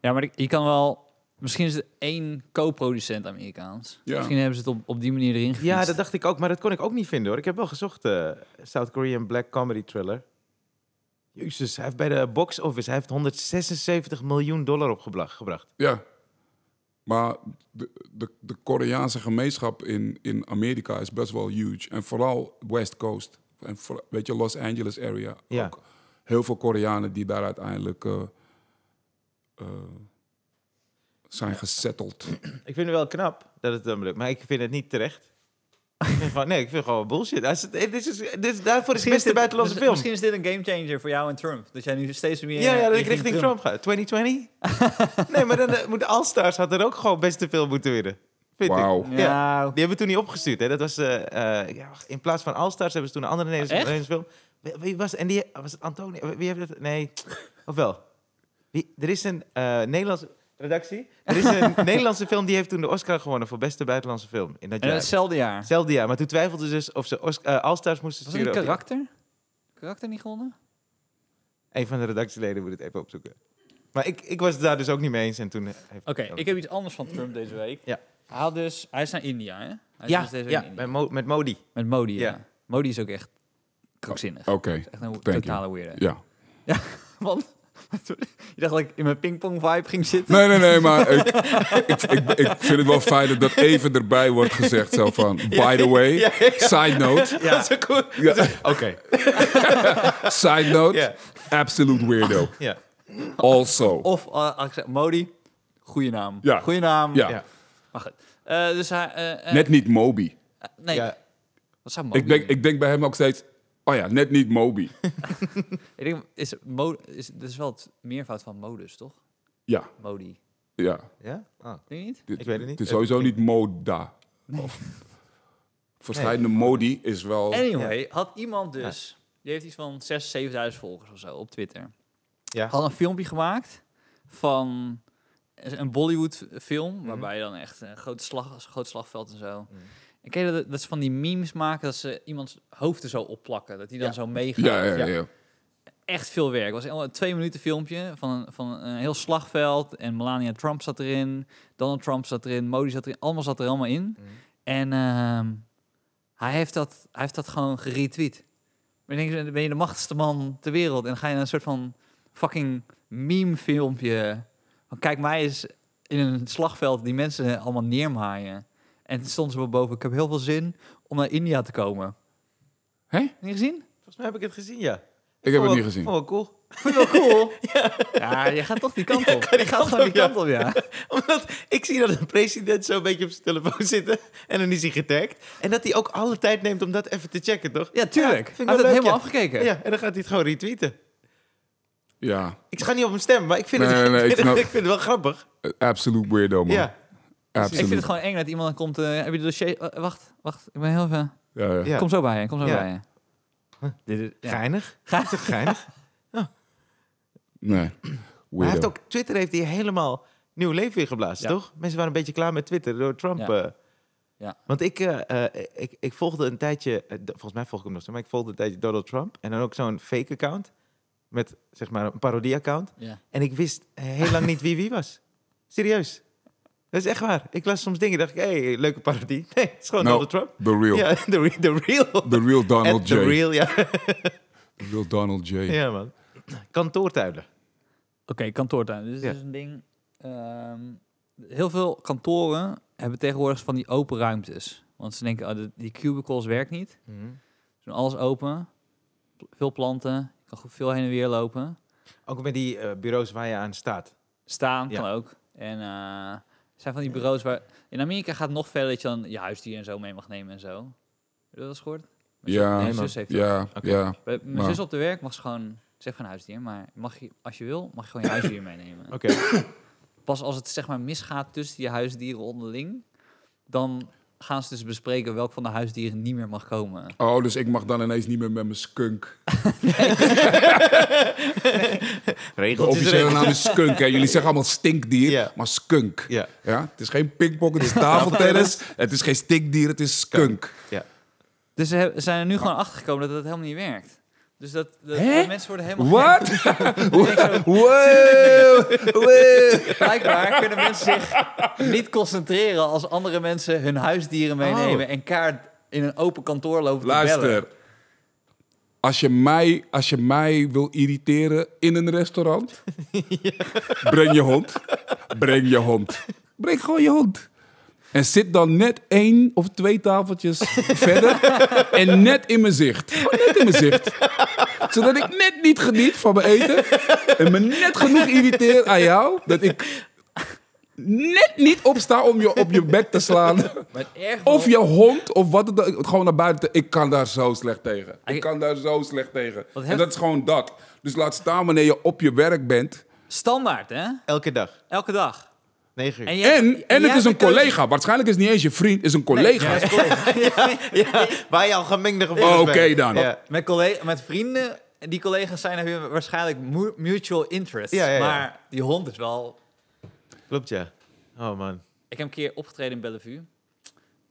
[SPEAKER 2] Ja, maar ik- je kan wel... Misschien is het één co-producent Amerikaans.
[SPEAKER 3] Ja.
[SPEAKER 2] Misschien hebben ze het op, op die manier erin gefietst.
[SPEAKER 1] ja, dat dacht ik ook, maar dat kon ik ook niet vinden hoor. Ik heb wel gezocht eh, South Korean Black Comedy Thriller. Jezus, hij heeft bij de box office hij heeft 176 miljoen dollar opgebracht. gebracht.
[SPEAKER 3] Ja. Maar de, de, de Koreaanse gemeenschap in, in Amerika is best wel huge. En vooral West Coast. En voor, weet je, Los Angeles area.
[SPEAKER 1] Ja.
[SPEAKER 3] Ook heel veel Koreanen die daar uiteindelijk eh, eh, zijn gesetteld.
[SPEAKER 1] Ik vind het wel knap dat het hem lukt, maar ik vind het niet terecht. ik vind gewoon, nee, ik vind gewoon bullshit. Als het, eh, dit is, dit is, daarvoor is het beste buitenlandse film.
[SPEAKER 2] Misschien is dit een gamechanger voor jou en Trump. Dat jij nu steeds meer...
[SPEAKER 1] Ja,
[SPEAKER 2] eh,
[SPEAKER 1] ja, dat ik richting Trump ga. 2020? nee, maar dan eh, moet All Stars had er ook gewoon beste film moeten winnen. Vind ik.
[SPEAKER 3] Wauw.
[SPEAKER 1] Ja.
[SPEAKER 2] Ja.
[SPEAKER 1] Die hebben we toen niet opgestuurd. Hè? Dat was, eh, eh, ja, wacht, in plaats van All Stars hebben ze toen een andere Nederlandse,
[SPEAKER 2] Echt?
[SPEAKER 1] Nederlandse film. Wie, wie was, en die, was het Antonie? Wie heeft het? Nee, of wel? Wie, er is een eh, Nederlandse redactie. Er is
[SPEAKER 2] [laughs]
[SPEAKER 1] een Nederlandse film die heeft toen de Oscar gewonnen voor beste buitenlandse film. In dat
[SPEAKER 2] En
[SPEAKER 1] jaar.
[SPEAKER 2] hetzelfde jaar.
[SPEAKER 1] Hetzelfde jaar. Maar toen twijfelden ze dus of ze Osc- eh, All Stars moesten
[SPEAKER 2] Was het een
[SPEAKER 1] sturen. of-
[SPEAKER 2] karakter? Karakter niet gewonnen?
[SPEAKER 1] Een van de redactieleden moet het even opzoeken. Maar ik, ik was het daar dus ook niet mee eens. En toen heeft
[SPEAKER 2] Oké, ik heb iets anders van Trump deze week.
[SPEAKER 1] Ja.
[SPEAKER 2] Hij, had dus, hij is naar India, hè? Hij is
[SPEAKER 1] Ja,
[SPEAKER 2] dus deze week
[SPEAKER 1] ja
[SPEAKER 2] in India.
[SPEAKER 1] met, Mo- met Modi.
[SPEAKER 2] Met Modi, ja.
[SPEAKER 1] Ja.
[SPEAKER 2] Modi is ook echt krankzinnig.
[SPEAKER 3] Oké.
[SPEAKER 2] Echt een
[SPEAKER 3] Oh. you.
[SPEAKER 2] totale weirdo.
[SPEAKER 3] Ja.
[SPEAKER 2] Want [laughs] je dacht dat ik in mijn pingpong vibe ging zitten.
[SPEAKER 3] Nee, nee, nee, maar ik, ik, ik, ik vind het wel fijn dat dat even erbij wordt gezegd. Zo van, by the way,
[SPEAKER 1] Ja, ja, ja.
[SPEAKER 3] side note,
[SPEAKER 1] [laughs] Ja. Dat is ook goed.
[SPEAKER 3] Ja.
[SPEAKER 1] Dat is- [laughs] Oké.
[SPEAKER 3] side note,
[SPEAKER 1] Ja.
[SPEAKER 3] absolute weirdo.
[SPEAKER 1] Ja.
[SPEAKER 3] Also.
[SPEAKER 2] Of eh, als ik zeg, Modi, goede naam.
[SPEAKER 3] Ja.
[SPEAKER 2] Goede naam.
[SPEAKER 3] Ja,
[SPEAKER 1] Ja.
[SPEAKER 2] Maar goed. Eh, dus hij... eh, eh,
[SPEAKER 3] net niet Moby.
[SPEAKER 2] nee,
[SPEAKER 1] Ja.
[SPEAKER 2] wat zou Modi
[SPEAKER 3] Ik denk, ik denk bij hem ook steeds, Oh ja, net niet
[SPEAKER 1] [laughs]
[SPEAKER 3] Moby.
[SPEAKER 2] Ik denk, is, mo is, dat is wel het meervoud van modus, toch?
[SPEAKER 3] Ja,
[SPEAKER 2] Modi.
[SPEAKER 3] ja.
[SPEAKER 1] Ja? Ah,
[SPEAKER 2] Denk je niet?
[SPEAKER 3] Dit-
[SPEAKER 1] ik weet het niet.
[SPEAKER 3] Het is sowieso niet moda. Of- Verschillende modi is wel...
[SPEAKER 2] Anyway, had iemand dus... Die heeft iets van 6.000, 7.000 volgers of zo op Twitter.
[SPEAKER 1] Ja.
[SPEAKER 2] Had een filmpje gemaakt van een Bollywood film. Waarbij dan echt een groot, slag, een groot slagveld en zo.
[SPEAKER 1] Mhm.
[SPEAKER 2] En ken je dat, dat ze van die memes maken dat ze iemands hoofd er zo opplakken. Dat die dan
[SPEAKER 4] Ja.
[SPEAKER 2] zo meegaat.
[SPEAKER 3] Ja, ja, ja. ja.
[SPEAKER 2] Echt veel werk. Het was helemaal een twee minuten filmpje van een, van een heel slagveld. En Melania Trump zat erin. Donald Trump zat erin. Modi zat erin. Allemaal zat er allemaal in.
[SPEAKER 1] Mhm.
[SPEAKER 2] En ehm, hij, heeft dat, hij heeft dat gewoon geretweet. Maar dan denk je, ben je de machtigste man ter wereld. En dan ga je een soort van fucking meme filmpje. Van kijk mij eens in een slagveld die mensen allemaal neermaaien. En toen stond ze wel boven. Ik heb heel veel zin om naar India te komen.
[SPEAKER 3] Hè?
[SPEAKER 2] Heb je niet gezien?
[SPEAKER 1] Volgens mij heb ik het gezien, ja.
[SPEAKER 3] Ik
[SPEAKER 1] Vond
[SPEAKER 3] heb het
[SPEAKER 1] wel-
[SPEAKER 3] niet gezien.
[SPEAKER 1] Vond wel cool. [laughs]
[SPEAKER 2] Vond je wel cool? [laughs] ja. je gaat toch die kant op. je gaat gewoon die kant op, ja.
[SPEAKER 1] Omdat ik zie dat de president zo een beetje op zijn telefoon [laughs] zit en dan is hij getagd. En dat hij ook alle tijd neemt om dat even te checken, toch?
[SPEAKER 2] Ja, tuurlijk.
[SPEAKER 1] Ja, vind ik wel
[SPEAKER 2] hij heeft het
[SPEAKER 1] leuk,
[SPEAKER 2] helemaal
[SPEAKER 1] ja.
[SPEAKER 2] afgekeken.
[SPEAKER 1] Ja, en dan gaat hij het gewoon retweeten.
[SPEAKER 3] Ja,
[SPEAKER 1] Ik ga niet op hem stemmen, maar ik vind,
[SPEAKER 3] Nee,
[SPEAKER 1] het, [laughs]
[SPEAKER 3] nee,
[SPEAKER 1] ik vind,
[SPEAKER 3] ik
[SPEAKER 1] het-
[SPEAKER 3] snap.
[SPEAKER 1] ik vind het wel grappig.
[SPEAKER 3] eh, absolute weirdo, man.
[SPEAKER 1] Ja,
[SPEAKER 2] Ik vind het
[SPEAKER 3] Absoluut.
[SPEAKER 2] gewoon eng dat iemand dan komt... eh, heb je de dossier... eh, wacht, wacht. Ik ben heel even...
[SPEAKER 3] Ja, ja.
[SPEAKER 1] ja.
[SPEAKER 2] Kom zo bij je, kom zo
[SPEAKER 1] Ja.
[SPEAKER 2] bij je. Dit is, ja.
[SPEAKER 1] Geinig. Is het geinig?
[SPEAKER 3] Nee,
[SPEAKER 1] Maar hij heeft
[SPEAKER 3] weirdo.
[SPEAKER 1] ook, Twitter heeft hij helemaal nieuw leven ingeblazen,
[SPEAKER 2] Ja.
[SPEAKER 1] toch? Mensen waren een beetje klaar met Twitter door Trump.
[SPEAKER 2] Ja.
[SPEAKER 1] eh.
[SPEAKER 2] Ja.
[SPEAKER 1] Want ik, eh, eh, ik, ik volgde een tijdje, eh, d- volgens mij volg ik hem nog steeds, maar ik volgde een tijdje Donald Trump. En dan ook zo'n fake account met zeg maar een parodie-account.
[SPEAKER 2] Ja.
[SPEAKER 1] En ik wist heel lang niet wie wie was. Serieus. Dat is echt waar. Ik las soms dingen dacht ik, hé, hey, leuke parodie. [laughs] Nee, het is gewoon
[SPEAKER 3] Nou,
[SPEAKER 1] Donald Trump.
[SPEAKER 3] The real.
[SPEAKER 1] Ja, [laughs] the, re- the real.
[SPEAKER 3] The real
[SPEAKER 1] At
[SPEAKER 3] Donald J.
[SPEAKER 1] the real, ja.
[SPEAKER 3] The real Donald J.
[SPEAKER 1] ja, man. Kantoortuilen.
[SPEAKER 2] Oké, kantoortuin. Dus
[SPEAKER 1] Ja.
[SPEAKER 2] dit is een ding. ehm, heel veel kantoren hebben tegenwoordig van die open ruimtes. Want ze denken, ah, de- die cubicles werkt niet.
[SPEAKER 1] Mhm.
[SPEAKER 2] Ze doen alles open. Pl- Veel planten. Je kan goed veel heen en weer lopen.
[SPEAKER 1] Ook met die eh, bureaus waar je aan staat.
[SPEAKER 2] Staan
[SPEAKER 1] Ja.
[SPEAKER 2] kan ook. En eh, er zijn van die bureaus waar... In Amerika gaat het nog verder dat je dan je huisdier en zo mee mag nemen en zo. Heb je dat wel eens gehoord? Mijn zus-
[SPEAKER 3] Ja,
[SPEAKER 2] mijn zus heeft dat.
[SPEAKER 3] ja,
[SPEAKER 1] Oké.
[SPEAKER 3] ja.
[SPEAKER 2] Bij Mijn
[SPEAKER 3] Maar-
[SPEAKER 2] zus op de werk mag ze gewoon... Zeg geen huisdier, maar mag je, als je wil, mag je gewoon je huisdier meenemen.
[SPEAKER 1] Oké.
[SPEAKER 2] pas als het zeg maar misgaat tussen die huisdieren onderling, dan gaan ze dus bespreken welk van de huisdieren niet meer mag komen.
[SPEAKER 3] Oh, dus ik mag dan ineens niet meer met mijn skunk. De
[SPEAKER 1] Regeltjes
[SPEAKER 3] officiële
[SPEAKER 1] erin.
[SPEAKER 3] naam is skunk. Hè. Jullie zeggen allemaal stinkdier,
[SPEAKER 1] Ja.
[SPEAKER 3] maar skunk.
[SPEAKER 1] Ja,
[SPEAKER 3] Ja? Het is geen pickpocket, het is tafeltennis. Het is geen stinkdier, het is skunk.
[SPEAKER 1] ja.
[SPEAKER 2] Dus ze heb- ze zijn er nu gewoon achter gekomen dat dat helemaal niet werkt. Dus dat, dat-
[SPEAKER 3] Hè?
[SPEAKER 2] dat mensen worden helemaal gek.
[SPEAKER 3] Wat? [laughs] Wow, wow.
[SPEAKER 2] Blijkbaar kunnen mensen zich niet concentreren als andere mensen hun huisdieren meenemen en kaart in een open kantoor lopen te bellen.
[SPEAKER 3] Oh. Luister. Als je, mij, als je mij wil irriteren in een
[SPEAKER 2] [laughs]
[SPEAKER 3] restaurant, breng je hond. Breng je hond. Breng gewoon je hond. En zit dan net één of twee
[SPEAKER 2] [laughs]
[SPEAKER 3] tafeltjes verder en net in mijn zicht. Gewoon net in mijn zicht. Zodat ik net niet geniet van mijn eten en me net genoeg irriteer aan jou dat ik net niet opsta om je op je bek te slaan.
[SPEAKER 2] Maar het erg
[SPEAKER 3] Of je hond, of wat het ook, gewoon naar buiten. Ik kan daar zo slecht tegen. Ik kan daar zo slecht tegen. En
[SPEAKER 2] heft-
[SPEAKER 3] dat is gewoon dat. Dus laat staan wanneer je op je werk bent.
[SPEAKER 2] standaard, hè?
[SPEAKER 1] Elke dag.
[SPEAKER 2] Elke dag.
[SPEAKER 1] Negen uur.
[SPEAKER 2] je hebt- je-
[SPEAKER 3] En, en het is
[SPEAKER 2] jij
[SPEAKER 3] een
[SPEAKER 2] hebt de keuze.
[SPEAKER 3] collega. Waarschijnlijk is het niet eens je vriend, is een collega.
[SPEAKER 2] Ja, is een collega.
[SPEAKER 1] Waar je al gemengde gevoelens
[SPEAKER 3] Oh, Oké
[SPEAKER 1] bij hebt.
[SPEAKER 3] dan.
[SPEAKER 1] Ja.
[SPEAKER 2] Met, collega, met vrienden, die collega's zijn hebben waarschijnlijk mu- mutual interests.
[SPEAKER 1] Ja, ja, ja.
[SPEAKER 2] Maar die hond is wel...
[SPEAKER 1] Klopt, ja. Oh, [laughs] man.
[SPEAKER 2] Ik heb een keer opgetreden in Bellevue.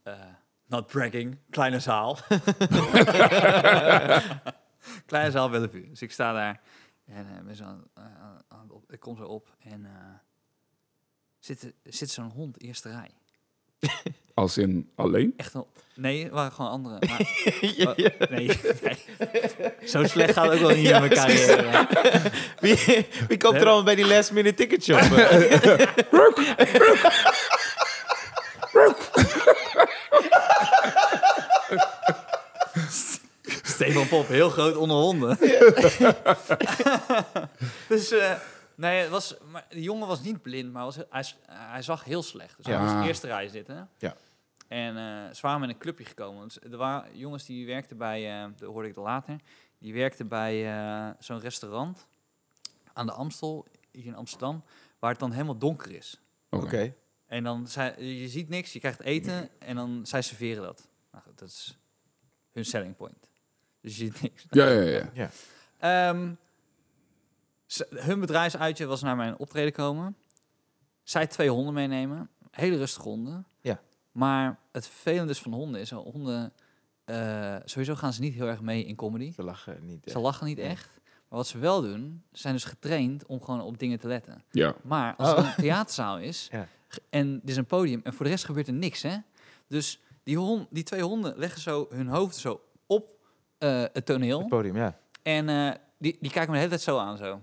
[SPEAKER 2] Eh, not bragging, kleine zaal. [laughs] kleine zaal Bellevue. Dus ik sta daar en eh, ben zo aan, aan- aan- op- ik kom zo op en eh, zit, er- zit zo'n hond eerste rij.
[SPEAKER 3] Als in alleen.
[SPEAKER 2] Echt een... Nee, het waren gewoon anderen. [laughs] Maar, Oh, nee, nee. Zo slecht gaat het ook wel niet in mijn carrière.
[SPEAKER 1] Wie, wie komt er allemaal bij die last minute ticket [laughs] shop? eh?
[SPEAKER 2] Stefan Pop, heel groot onder honden. [laughs] dus, eh, nee, het was, maar de jongen was niet blind, maar was, hij, hij zag heel slecht. Dus hij
[SPEAKER 3] Ja.
[SPEAKER 2] moest in de eerste rij zitten.
[SPEAKER 1] Ja.
[SPEAKER 2] En eh ze waren met een clubje gekomen. Dus er waren jongens die werkten bij, eh, dat hoorde ik later, die werkten bij eh, zo'n restaurant aan de Amstel, hier in Amsterdam, waar het dan helemaal donker is.
[SPEAKER 3] Oké.
[SPEAKER 2] En dan, zij- je ziet niks, je krijgt eten en dan, zij serveren dat. Nou goed, dat is hun selling point. Dus je ziet niks.
[SPEAKER 3] Ja, ja, ja.
[SPEAKER 2] Ehm, ze- hun bedrijfsuitje was naar mijn optreden komen. Zij twee honden meenemen. Hele rustige honden.
[SPEAKER 1] Ja.
[SPEAKER 2] Maar het vervelende is van honden is... eh, honden... eh, sowieso gaan ze niet heel erg mee in comedy.
[SPEAKER 1] Ze lachen niet. hè.
[SPEAKER 2] Ze lachen niet
[SPEAKER 1] Ja.
[SPEAKER 2] echt. Maar wat ze wel doen... ze zijn dus getraind om gewoon op dingen te letten.
[SPEAKER 3] ja.
[SPEAKER 2] Maar als er een theaterzaal is...
[SPEAKER 1] Oh. Ja.
[SPEAKER 2] g- en er is een podium... en voor de rest gebeurt er niks, hè? Dus die, hon, die twee honden leggen zo hun hoofd zo op eh, het toneel.
[SPEAKER 1] Het podium, ja.
[SPEAKER 2] En eh, die, die kijken me de hele tijd zo aan, zo.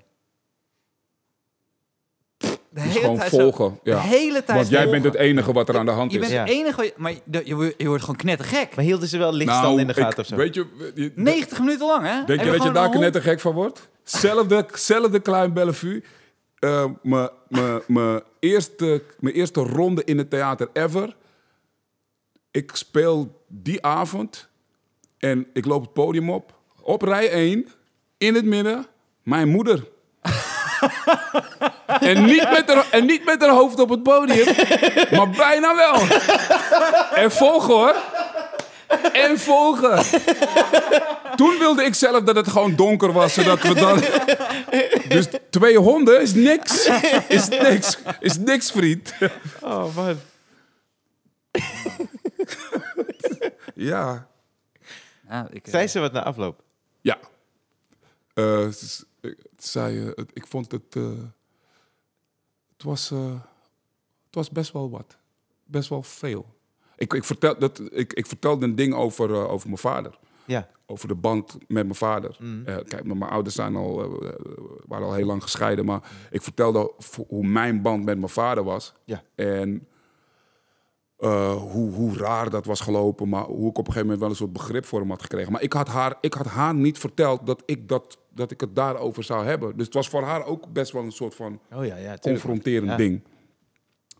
[SPEAKER 2] De
[SPEAKER 3] Dus gewoon volgen.
[SPEAKER 2] Zo,
[SPEAKER 3] Ja.
[SPEAKER 2] De hele tijd
[SPEAKER 3] Want jij bent het dus.
[SPEAKER 2] volgen.
[SPEAKER 3] enige wat er aan de hand
[SPEAKER 2] Je
[SPEAKER 3] is.
[SPEAKER 2] bent
[SPEAKER 1] Ja.
[SPEAKER 2] het enige... wat je- Maar je, je, wordt- je wordt gewoon knettergek.
[SPEAKER 1] Maar hielden ze wel lichtstand in de
[SPEAKER 3] Nou, ik-
[SPEAKER 1] gaten of zo?
[SPEAKER 3] Weet je, je- je-
[SPEAKER 2] 90 minuten lang, hè?
[SPEAKER 3] denk je dat je daar
[SPEAKER 2] knettergek...
[SPEAKER 3] knettergek van wordt? Zelfde, zelfde Klein Bellevue. Eh, Mijn mijn- mijn eerste, mijn eerste ronde in het theater ever. Ik speel die avond en ik loop het podium op. Op rij 1, in het midden, mijn moeder. en, niet met haar, en niet met haar hoofd op het podium, maar bijna wel. En volgen hoor. En volgen. Toen wilde ik zelf dat het gewoon donker was, zodat we dan... Dus twee honden is niks. Is niks, is niks vriend.
[SPEAKER 1] Oh, man.
[SPEAKER 3] Ja.
[SPEAKER 2] Ja, ik, eh,
[SPEAKER 1] Zei ze wat na afloop?
[SPEAKER 3] Ja. Eh, s- ik, zei, eh, het- ik vond het... eh, het, was, eh, het was best wel wat. Best wel veel. Ik, ik, vertel, dat, ik, ik vertelde een ding over, eh, over mijn vader.
[SPEAKER 1] Ja.
[SPEAKER 3] Over de band met mijn vader.
[SPEAKER 1] Mm.
[SPEAKER 3] Eh, kijk, mijn mijn ouders zijn al, eh, waren al heel lang gescheiden. Maar ik vertelde vo- hoe mijn band met mijn vader was.
[SPEAKER 1] Ja.
[SPEAKER 3] En eh, hoe, hoe raar dat was gelopen. Maar hoe ik op een gegeven moment wel een soort begrip voor hem had gekregen. Maar ik had haar, ik had haar niet verteld dat ik, dat, dat ik het daarover zou hebben. Dus het was voor haar ook best wel een soort van
[SPEAKER 1] Oh ja, ja. tuurlijk.
[SPEAKER 3] confronterend
[SPEAKER 1] Ja.
[SPEAKER 3] ding.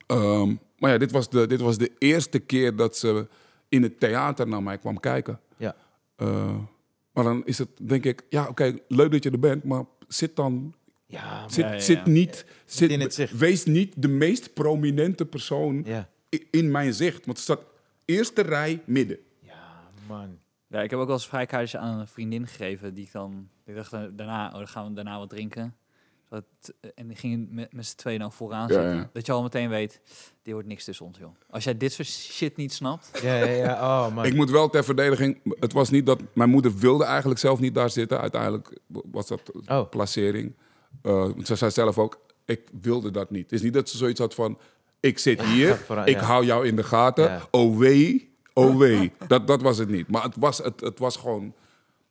[SPEAKER 3] Ehm, maar ja, dit was, de, dit was de eerste keer dat ze in het theater naar mij kwam kijken.
[SPEAKER 1] Ja.
[SPEAKER 3] Eh, maar dan is het, denk ik, ja, oké, leuk dat je er bent, maar zit dan.
[SPEAKER 1] Ja, man.
[SPEAKER 3] Zit,
[SPEAKER 4] ja, ja.
[SPEAKER 3] zit niet. Zit,
[SPEAKER 1] in het zicht.
[SPEAKER 3] Wees niet de meest prominente persoon
[SPEAKER 1] Ja.
[SPEAKER 3] i- in mijn zicht. Want ze staat eerste rij midden.
[SPEAKER 1] Ja, man.
[SPEAKER 2] ja, ik heb ook wel eens vrijkaartjes aan een vriendin gegeven. Die ik dan... Ik dacht eh, daarna, oh, dan gaan we daarna wat drinken. Zodat- en die gingen met, met z'n tweeën dan vooraan
[SPEAKER 3] Ja,
[SPEAKER 2] zitten.
[SPEAKER 3] ja.
[SPEAKER 2] Dat je al meteen weet, dit wordt niks tussen ons, joh. Als jij dit soort shit niet snapt...
[SPEAKER 1] Ja, ja, ja. Oh, man.
[SPEAKER 3] Ik moet wel ter verdediging. Het was niet dat. Mijn moeder wilde eigenlijk zelf niet daar zitten. Uiteindelijk was dat
[SPEAKER 1] Oh.
[SPEAKER 3] placering. Eh, want ze zei zelf ook: ik wilde dat niet. Het is niet dat ze zoiets had van: ik zit hier,
[SPEAKER 1] [laughs] ga vooruit,
[SPEAKER 3] ik
[SPEAKER 1] ja.
[SPEAKER 3] hou jou in de gaten.
[SPEAKER 1] Ja.
[SPEAKER 3] Oh wee, oh wee. dat, dat was het niet. Maar het was, het, het was gewoon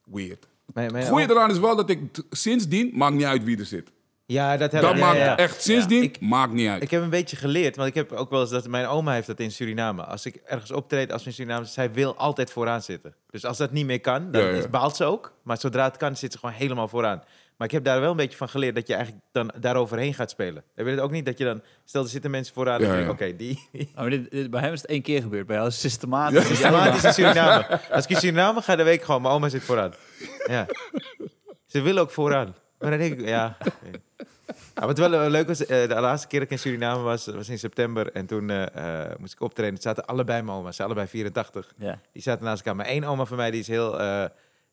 [SPEAKER 3] weird.
[SPEAKER 1] Mijn- mijn oh.
[SPEAKER 3] Het goeie eraan is wel dat ik t- sindsdien maakt niet uit wie er zit.
[SPEAKER 1] Ja, dat heb
[SPEAKER 3] Dat
[SPEAKER 1] ik. Ja,
[SPEAKER 3] maakt
[SPEAKER 1] ja, ja.
[SPEAKER 3] echt sindsdien
[SPEAKER 1] Ik-
[SPEAKER 3] maakt niet uit.
[SPEAKER 1] Ik heb een beetje geleerd, want ik heb ook wel eens dat mijn oma heeft dat in Suriname. Als ik ergens optreed als we in Suriname, zijn, zij wil altijd vooraan zitten. Dus als dat niet meer kan, dan
[SPEAKER 3] Ja, ja.
[SPEAKER 1] is- baalt ze ook. Maar zodra het kan, zit ze gewoon helemaal vooraan. Maar ik heb daar wel een beetje van geleerd dat je eigenlijk dan daaroverheen gaat spelen. Heb je het ook niet dat je dan, stel er zitten mensen vooraan, en
[SPEAKER 3] Ja,
[SPEAKER 1] dan denk
[SPEAKER 3] ja.
[SPEAKER 1] je, oké, die, die
[SPEAKER 2] Oh, maar dit, dit- bij hem is het één keer gebeurd. Bij jou is het systematisch.
[SPEAKER 1] is automatisch in Suriname. Als ik in Suriname ga, dan weet ik gewoon, mijn oma zit vooraan. Ja. Ze wil ook vooraan. Maar dan denk ik, ja. oké. Ja, wat wel eh, leuk was, eh, de laatste keer dat ik in Suriname was, was in september. En toen eh, eh, moest ik optreden. Toen zaten allebei mijn oma's, ze zijn allebei 84.
[SPEAKER 2] Ja.
[SPEAKER 1] Die zaten naast elkaar. Maar één oma van mij, die is heel... eh,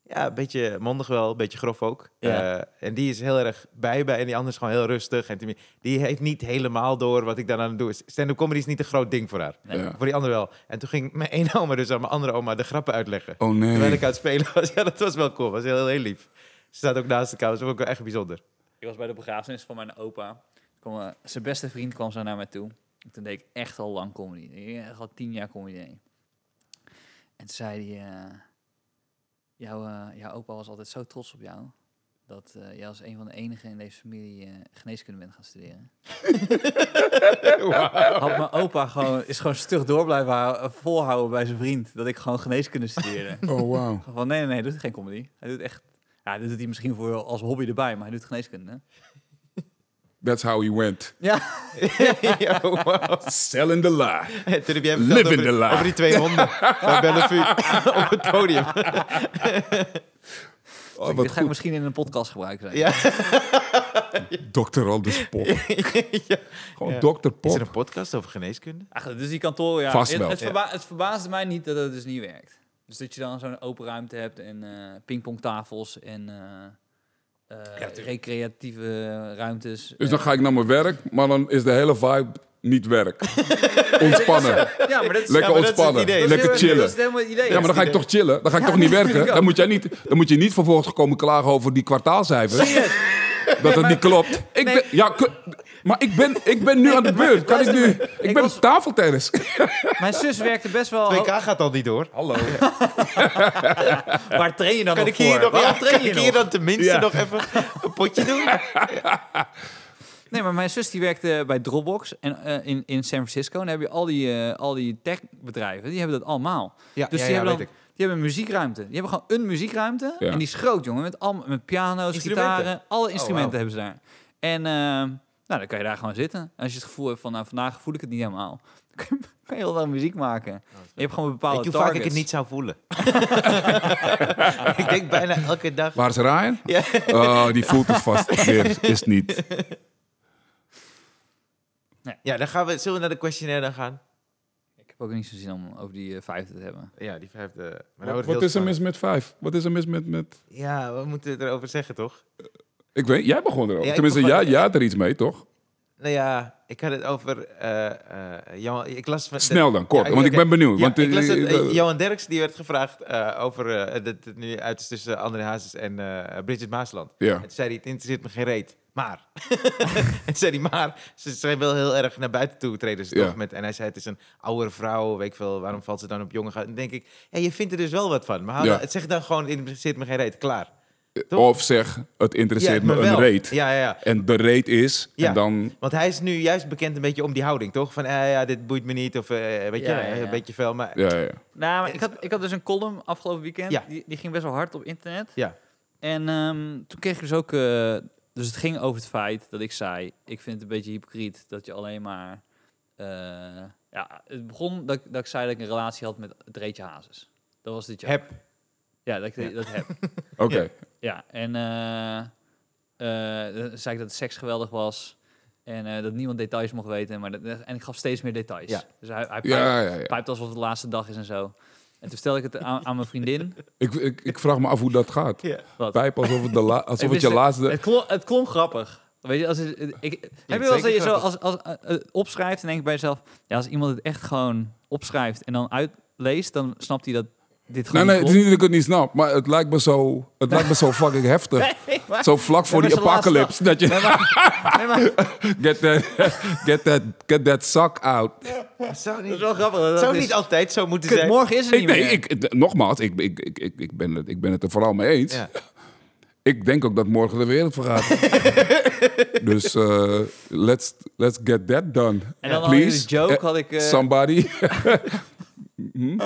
[SPEAKER 1] ja, een beetje mondig wel, een beetje grof ook.
[SPEAKER 2] Ja.
[SPEAKER 1] Eh, en die is heel erg bij bij. En die andere is gewoon heel rustig. En die- die heeft niet helemaal door wat ik daaraan aan het doen is. Stand-up comedy is niet een groot ding voor haar.
[SPEAKER 2] Nee.
[SPEAKER 3] Ja.
[SPEAKER 1] Voor die andere wel. En toen ging mijn ene oma dus aan mijn andere oma de grappen uitleggen.
[SPEAKER 3] Oh
[SPEAKER 1] Terwijl
[SPEAKER 3] nee.
[SPEAKER 1] ik aan het spelen was. [laughs] Ja, dat was wel cool. was heel, heel lief. Ze staat ook naast elkaar. Dat was ook wel echt bijzonder.
[SPEAKER 3] [laughs]
[SPEAKER 1] [laughs]
[SPEAKER 2] Ik was bij de begrafenis van mijn opa. Kom, eh, zijn beste vriend kwam zo naar mij toe. En toen deed ik echt al lang comedy. Ik deed echt al tien jaar comedy. En toen zei hij... eh, jouw, eh, jouw opa was altijd zo trots op jou... dat eh, jij als een van de enigen in deze familie eh, geneeskunde bent gaan studeren. Had mijn opa gewoon, is gewoon stug door blijven hou- volhouden bij zijn vriend... dat ik gewoon geneeskunde studeerde.
[SPEAKER 3] Oh wow.
[SPEAKER 2] Van nee, nee, nee, hij doet geen comedy. Hij doet echt. Ja, dit doet hij misschien voor als hobby erbij, maar hij doet geneeskunde.
[SPEAKER 3] That's how he went.
[SPEAKER 4] Ja,
[SPEAKER 1] ja, wow.
[SPEAKER 3] Selling the
[SPEAKER 1] [laughs]
[SPEAKER 3] lie.
[SPEAKER 1] Toen heb jij verteld
[SPEAKER 3] Live in
[SPEAKER 1] over,
[SPEAKER 3] the
[SPEAKER 1] die-
[SPEAKER 3] lie.
[SPEAKER 1] over die twee
[SPEAKER 3] [laughs]
[SPEAKER 1] honden bij Bellevue [laughs] op het podium.
[SPEAKER 3] Oh,
[SPEAKER 2] Dit
[SPEAKER 3] wat
[SPEAKER 2] ga ik
[SPEAKER 3] goed.
[SPEAKER 2] misschien in een podcast gebruiken. Zijn.
[SPEAKER 1] Ja.
[SPEAKER 3] Dokter on the spot. Gewoon dokter
[SPEAKER 1] Is er
[SPEAKER 3] Pop.
[SPEAKER 1] een podcast over geneeskunde?
[SPEAKER 2] Ach, dus die kantoor, ja.
[SPEAKER 3] Vast
[SPEAKER 2] het,
[SPEAKER 3] wel.
[SPEAKER 2] Het,
[SPEAKER 1] Ja.
[SPEAKER 2] verba het verbaasde mij niet dat het dus niet werkt. Dus dat je dan zo'n open ruimte hebt en eh pingpongtafels en eh, eh, recreatieve ruimtes. Eh,
[SPEAKER 3] Dus dan ga ik naar mijn werk, maar dan is de hele vibe niet werk. Ontspannen.
[SPEAKER 2] ja, maar dat is,
[SPEAKER 3] Lekker
[SPEAKER 1] maar dat is het
[SPEAKER 3] ontspannen.
[SPEAKER 1] idee.
[SPEAKER 2] dat is
[SPEAKER 3] Lekker
[SPEAKER 2] helemaal- Dat
[SPEAKER 3] chillen.
[SPEAKER 2] is helemaal het idee.
[SPEAKER 3] Ja, maar dan ga ik toch chillen. Dan ga ik toch niet werken. Dan moet, jij niet, dan moet je niet vervolgens komen klagen over die kwartaalcijfers. Dat het niet klopt. Ik ben, ja, ku- maar ik ben, ik ben nu aan de beurt. Kan ik nu... Ik ben
[SPEAKER 2] was-
[SPEAKER 3] tafeltennis.
[SPEAKER 2] Mijn zus werkte best wel...
[SPEAKER 1] 2K gaat al niet door.
[SPEAKER 3] Hallo.
[SPEAKER 2] Waar train je dan
[SPEAKER 1] Kan
[SPEAKER 2] nog
[SPEAKER 1] ik hier,
[SPEAKER 2] voor?
[SPEAKER 1] nog,
[SPEAKER 2] Waarom
[SPEAKER 1] ja,
[SPEAKER 2] train
[SPEAKER 1] kan
[SPEAKER 2] je
[SPEAKER 1] ik
[SPEAKER 2] nog?
[SPEAKER 1] hier dan tenminste
[SPEAKER 3] Ja.
[SPEAKER 1] nog even een potje doen?
[SPEAKER 2] Nee, maar mijn zus die werkte bij Dropbox en, eh, in, in San Francisco. En dan heb je al die, eh, al die techbedrijven, die hebben dat allemaal.
[SPEAKER 1] Ja, ja,
[SPEAKER 2] Dus die
[SPEAKER 1] ja,
[SPEAKER 2] hebben
[SPEAKER 1] weet
[SPEAKER 2] dan, die hebben een muziekruimte. Die hebben gewoon een muziekruimte.
[SPEAKER 3] Ja.
[SPEAKER 2] En die is groot, jongen. Met, al, met piano's,
[SPEAKER 1] Instrumenten. Oh,
[SPEAKER 2] gitaren, alle instrumenten
[SPEAKER 1] wauw.
[SPEAKER 2] hebben ze daar. En eh, nou, dan kan je daar gewoon zitten. En als je het gevoel hebt van, nou, vandaag voel ik het niet helemaal. [laughs] Dan kan je- kan je heel lang muziek maken. je hebt gewoon bepaalde
[SPEAKER 1] Oh, Weet je hoe vaak
[SPEAKER 2] targets.
[SPEAKER 1] ik het niet zou [laughs] voelen? ik denk bijna elke dag.
[SPEAKER 3] Waar is Ryan? Oh, die voelt het vast. Weer is niet.
[SPEAKER 1] Ja, dan gaan we, zullen we naar de questionnaire dan gaan?
[SPEAKER 2] Ik heb ook niet zo zin om over die eh, vijfde te hebben.
[SPEAKER 1] Ja, die vijfde. Maar dan nou wordt het
[SPEAKER 3] Wat,
[SPEAKER 1] heel
[SPEAKER 3] is er mis
[SPEAKER 1] spannend.
[SPEAKER 3] met vijf? Wat is er mis met... met...
[SPEAKER 1] Ja, we moeten het erover zeggen, toch?
[SPEAKER 3] Ik weet, jij begon erover.
[SPEAKER 1] Ja, ik
[SPEAKER 3] Tenminste,
[SPEAKER 1] begon-
[SPEAKER 3] jij, jij had er iets mee, toch?
[SPEAKER 1] Nou ja, ik had het over... eh, eh, Johan, ik las van-
[SPEAKER 3] Snel dan, kort,
[SPEAKER 1] Ja,
[SPEAKER 3] want ik
[SPEAKER 1] oké.
[SPEAKER 3] ben benieuwd.
[SPEAKER 1] Ja,
[SPEAKER 3] want,
[SPEAKER 1] ik las
[SPEAKER 3] eh,
[SPEAKER 1] het, eh,
[SPEAKER 3] eh,
[SPEAKER 1] Johan Derks die werd gevraagd eh, over eh, dat het nu uit is tussen André Hazes en eh, Bridget Maasland.
[SPEAKER 3] Ja.
[SPEAKER 1] En toen zei hij, het interesseert me geen reet. Maar. [laughs] en toen zei hij, maar. Ze zijn wel heel erg naar buiten toe treden ze
[SPEAKER 3] Ja.
[SPEAKER 1] toch met. En hij zei, het is een oudere vrouw, weet ik veel. Waarom valt ze dan op jongen? En dan denk ik, ja, je vindt er dus wel wat van. Maar hou
[SPEAKER 3] Ja.
[SPEAKER 1] dan- het zeg dan gewoon, het interesseert me geen reet. Klaar. toch?
[SPEAKER 3] Of zeg, het interesseert
[SPEAKER 1] Ja,
[SPEAKER 3] me
[SPEAKER 1] maar
[SPEAKER 3] een
[SPEAKER 1] wel.
[SPEAKER 3] reet.
[SPEAKER 1] Ja, ja, ja.
[SPEAKER 3] En de reet is,
[SPEAKER 1] Ja.
[SPEAKER 3] en dan...
[SPEAKER 1] Want hij is nu juist bekend een beetje om die houding, toch? Van, eh, ja, dit boeit me niet. Of, eh, weet
[SPEAKER 2] Ja,
[SPEAKER 1] je,
[SPEAKER 2] ja, ja.
[SPEAKER 1] een beetje veel. Maar
[SPEAKER 3] Ja, ja, ja.
[SPEAKER 2] Nou, maar ik had, ik had dus een column afgelopen weekend.
[SPEAKER 1] Ja.
[SPEAKER 2] Die, die ging best wel hard op internet.
[SPEAKER 1] ja.
[SPEAKER 2] En ehm, toen kreeg ik dus ook... eh, dus het ging over het feit dat ik zei... Ik vind het een beetje hypocriet dat je alleen maar... eh, ja, het begon dat, ik- dat ik zei dat ik een relatie had met het Reetje Hazes. Dat was dit jaar.
[SPEAKER 1] Heb.
[SPEAKER 2] Ja, dat ik dat
[SPEAKER 1] [laughs]
[SPEAKER 2] heb.
[SPEAKER 3] Oké.
[SPEAKER 2] Ja, en eh, eh, dan zei ik dat het seks geweldig was. En eh, dat niemand details mocht weten. Maar dat, en ik gaf steeds meer details.
[SPEAKER 1] Ja.
[SPEAKER 2] Dus hij, hij
[SPEAKER 3] Ja, ja, ja.
[SPEAKER 2] pijpt alsof het de laatste dag is en zo. En toen stel ik het aan, aan mijn
[SPEAKER 3] [laughs]
[SPEAKER 2] vriendin.
[SPEAKER 3] Ik, ik, ik vraag me af hoe dat gaat.
[SPEAKER 1] Ja.
[SPEAKER 2] Wat?
[SPEAKER 3] Pijp alsof het, de
[SPEAKER 1] [laughs]
[SPEAKER 3] la- alsof
[SPEAKER 2] Ik
[SPEAKER 3] het je
[SPEAKER 2] wist-
[SPEAKER 3] laatste...
[SPEAKER 2] Het, klonk, het klonk grappig. Weet je, als het- het- ik, heb je wel eens dat
[SPEAKER 1] zeker
[SPEAKER 2] je zo als, als, eh, eh, opschrijft en denk je bij jezelf... Ja, als iemand het echt gewoon opschrijft en dan uitleest... dan snapt hij dat dit
[SPEAKER 3] Nee,
[SPEAKER 2] gewoon
[SPEAKER 3] nee, het is niet
[SPEAKER 2] klopt.
[SPEAKER 3] dat ik het niet snap, maar het lijkt me zo, het lijkt
[SPEAKER 1] [laughs]
[SPEAKER 3] me zo fucking heftig. Zo vlak voor
[SPEAKER 2] Ja,
[SPEAKER 3] die
[SPEAKER 2] maar is de
[SPEAKER 3] apocalypse. Dat je,
[SPEAKER 2] Nee, maar- nee, maar- [laughs]
[SPEAKER 3] [laughs] get, that, get, that, get that suck out.
[SPEAKER 1] Zo
[SPEAKER 2] dat is
[SPEAKER 1] niet,
[SPEAKER 2] wel grappig. dat
[SPEAKER 1] het zou
[SPEAKER 2] is-
[SPEAKER 1] niet altijd zo moeten
[SPEAKER 2] Kut,
[SPEAKER 1] zijn.
[SPEAKER 2] morgen is het
[SPEAKER 3] Ik,
[SPEAKER 2] niet
[SPEAKER 3] nee,
[SPEAKER 2] meer.
[SPEAKER 3] ik, d- nogmaals, ik, ik, ik, ik, ik ben het, ik ben het er vooral mee eens.
[SPEAKER 1] Ja.
[SPEAKER 3] Ik denk ook dat morgen de wereld vergaat. dus eh, let's, let's get that done.
[SPEAKER 2] En dan had ik
[SPEAKER 3] Please.
[SPEAKER 2] een joke,
[SPEAKER 3] Eh,
[SPEAKER 2] had ik... eh, [laughs]
[SPEAKER 3] Somebody. Hm?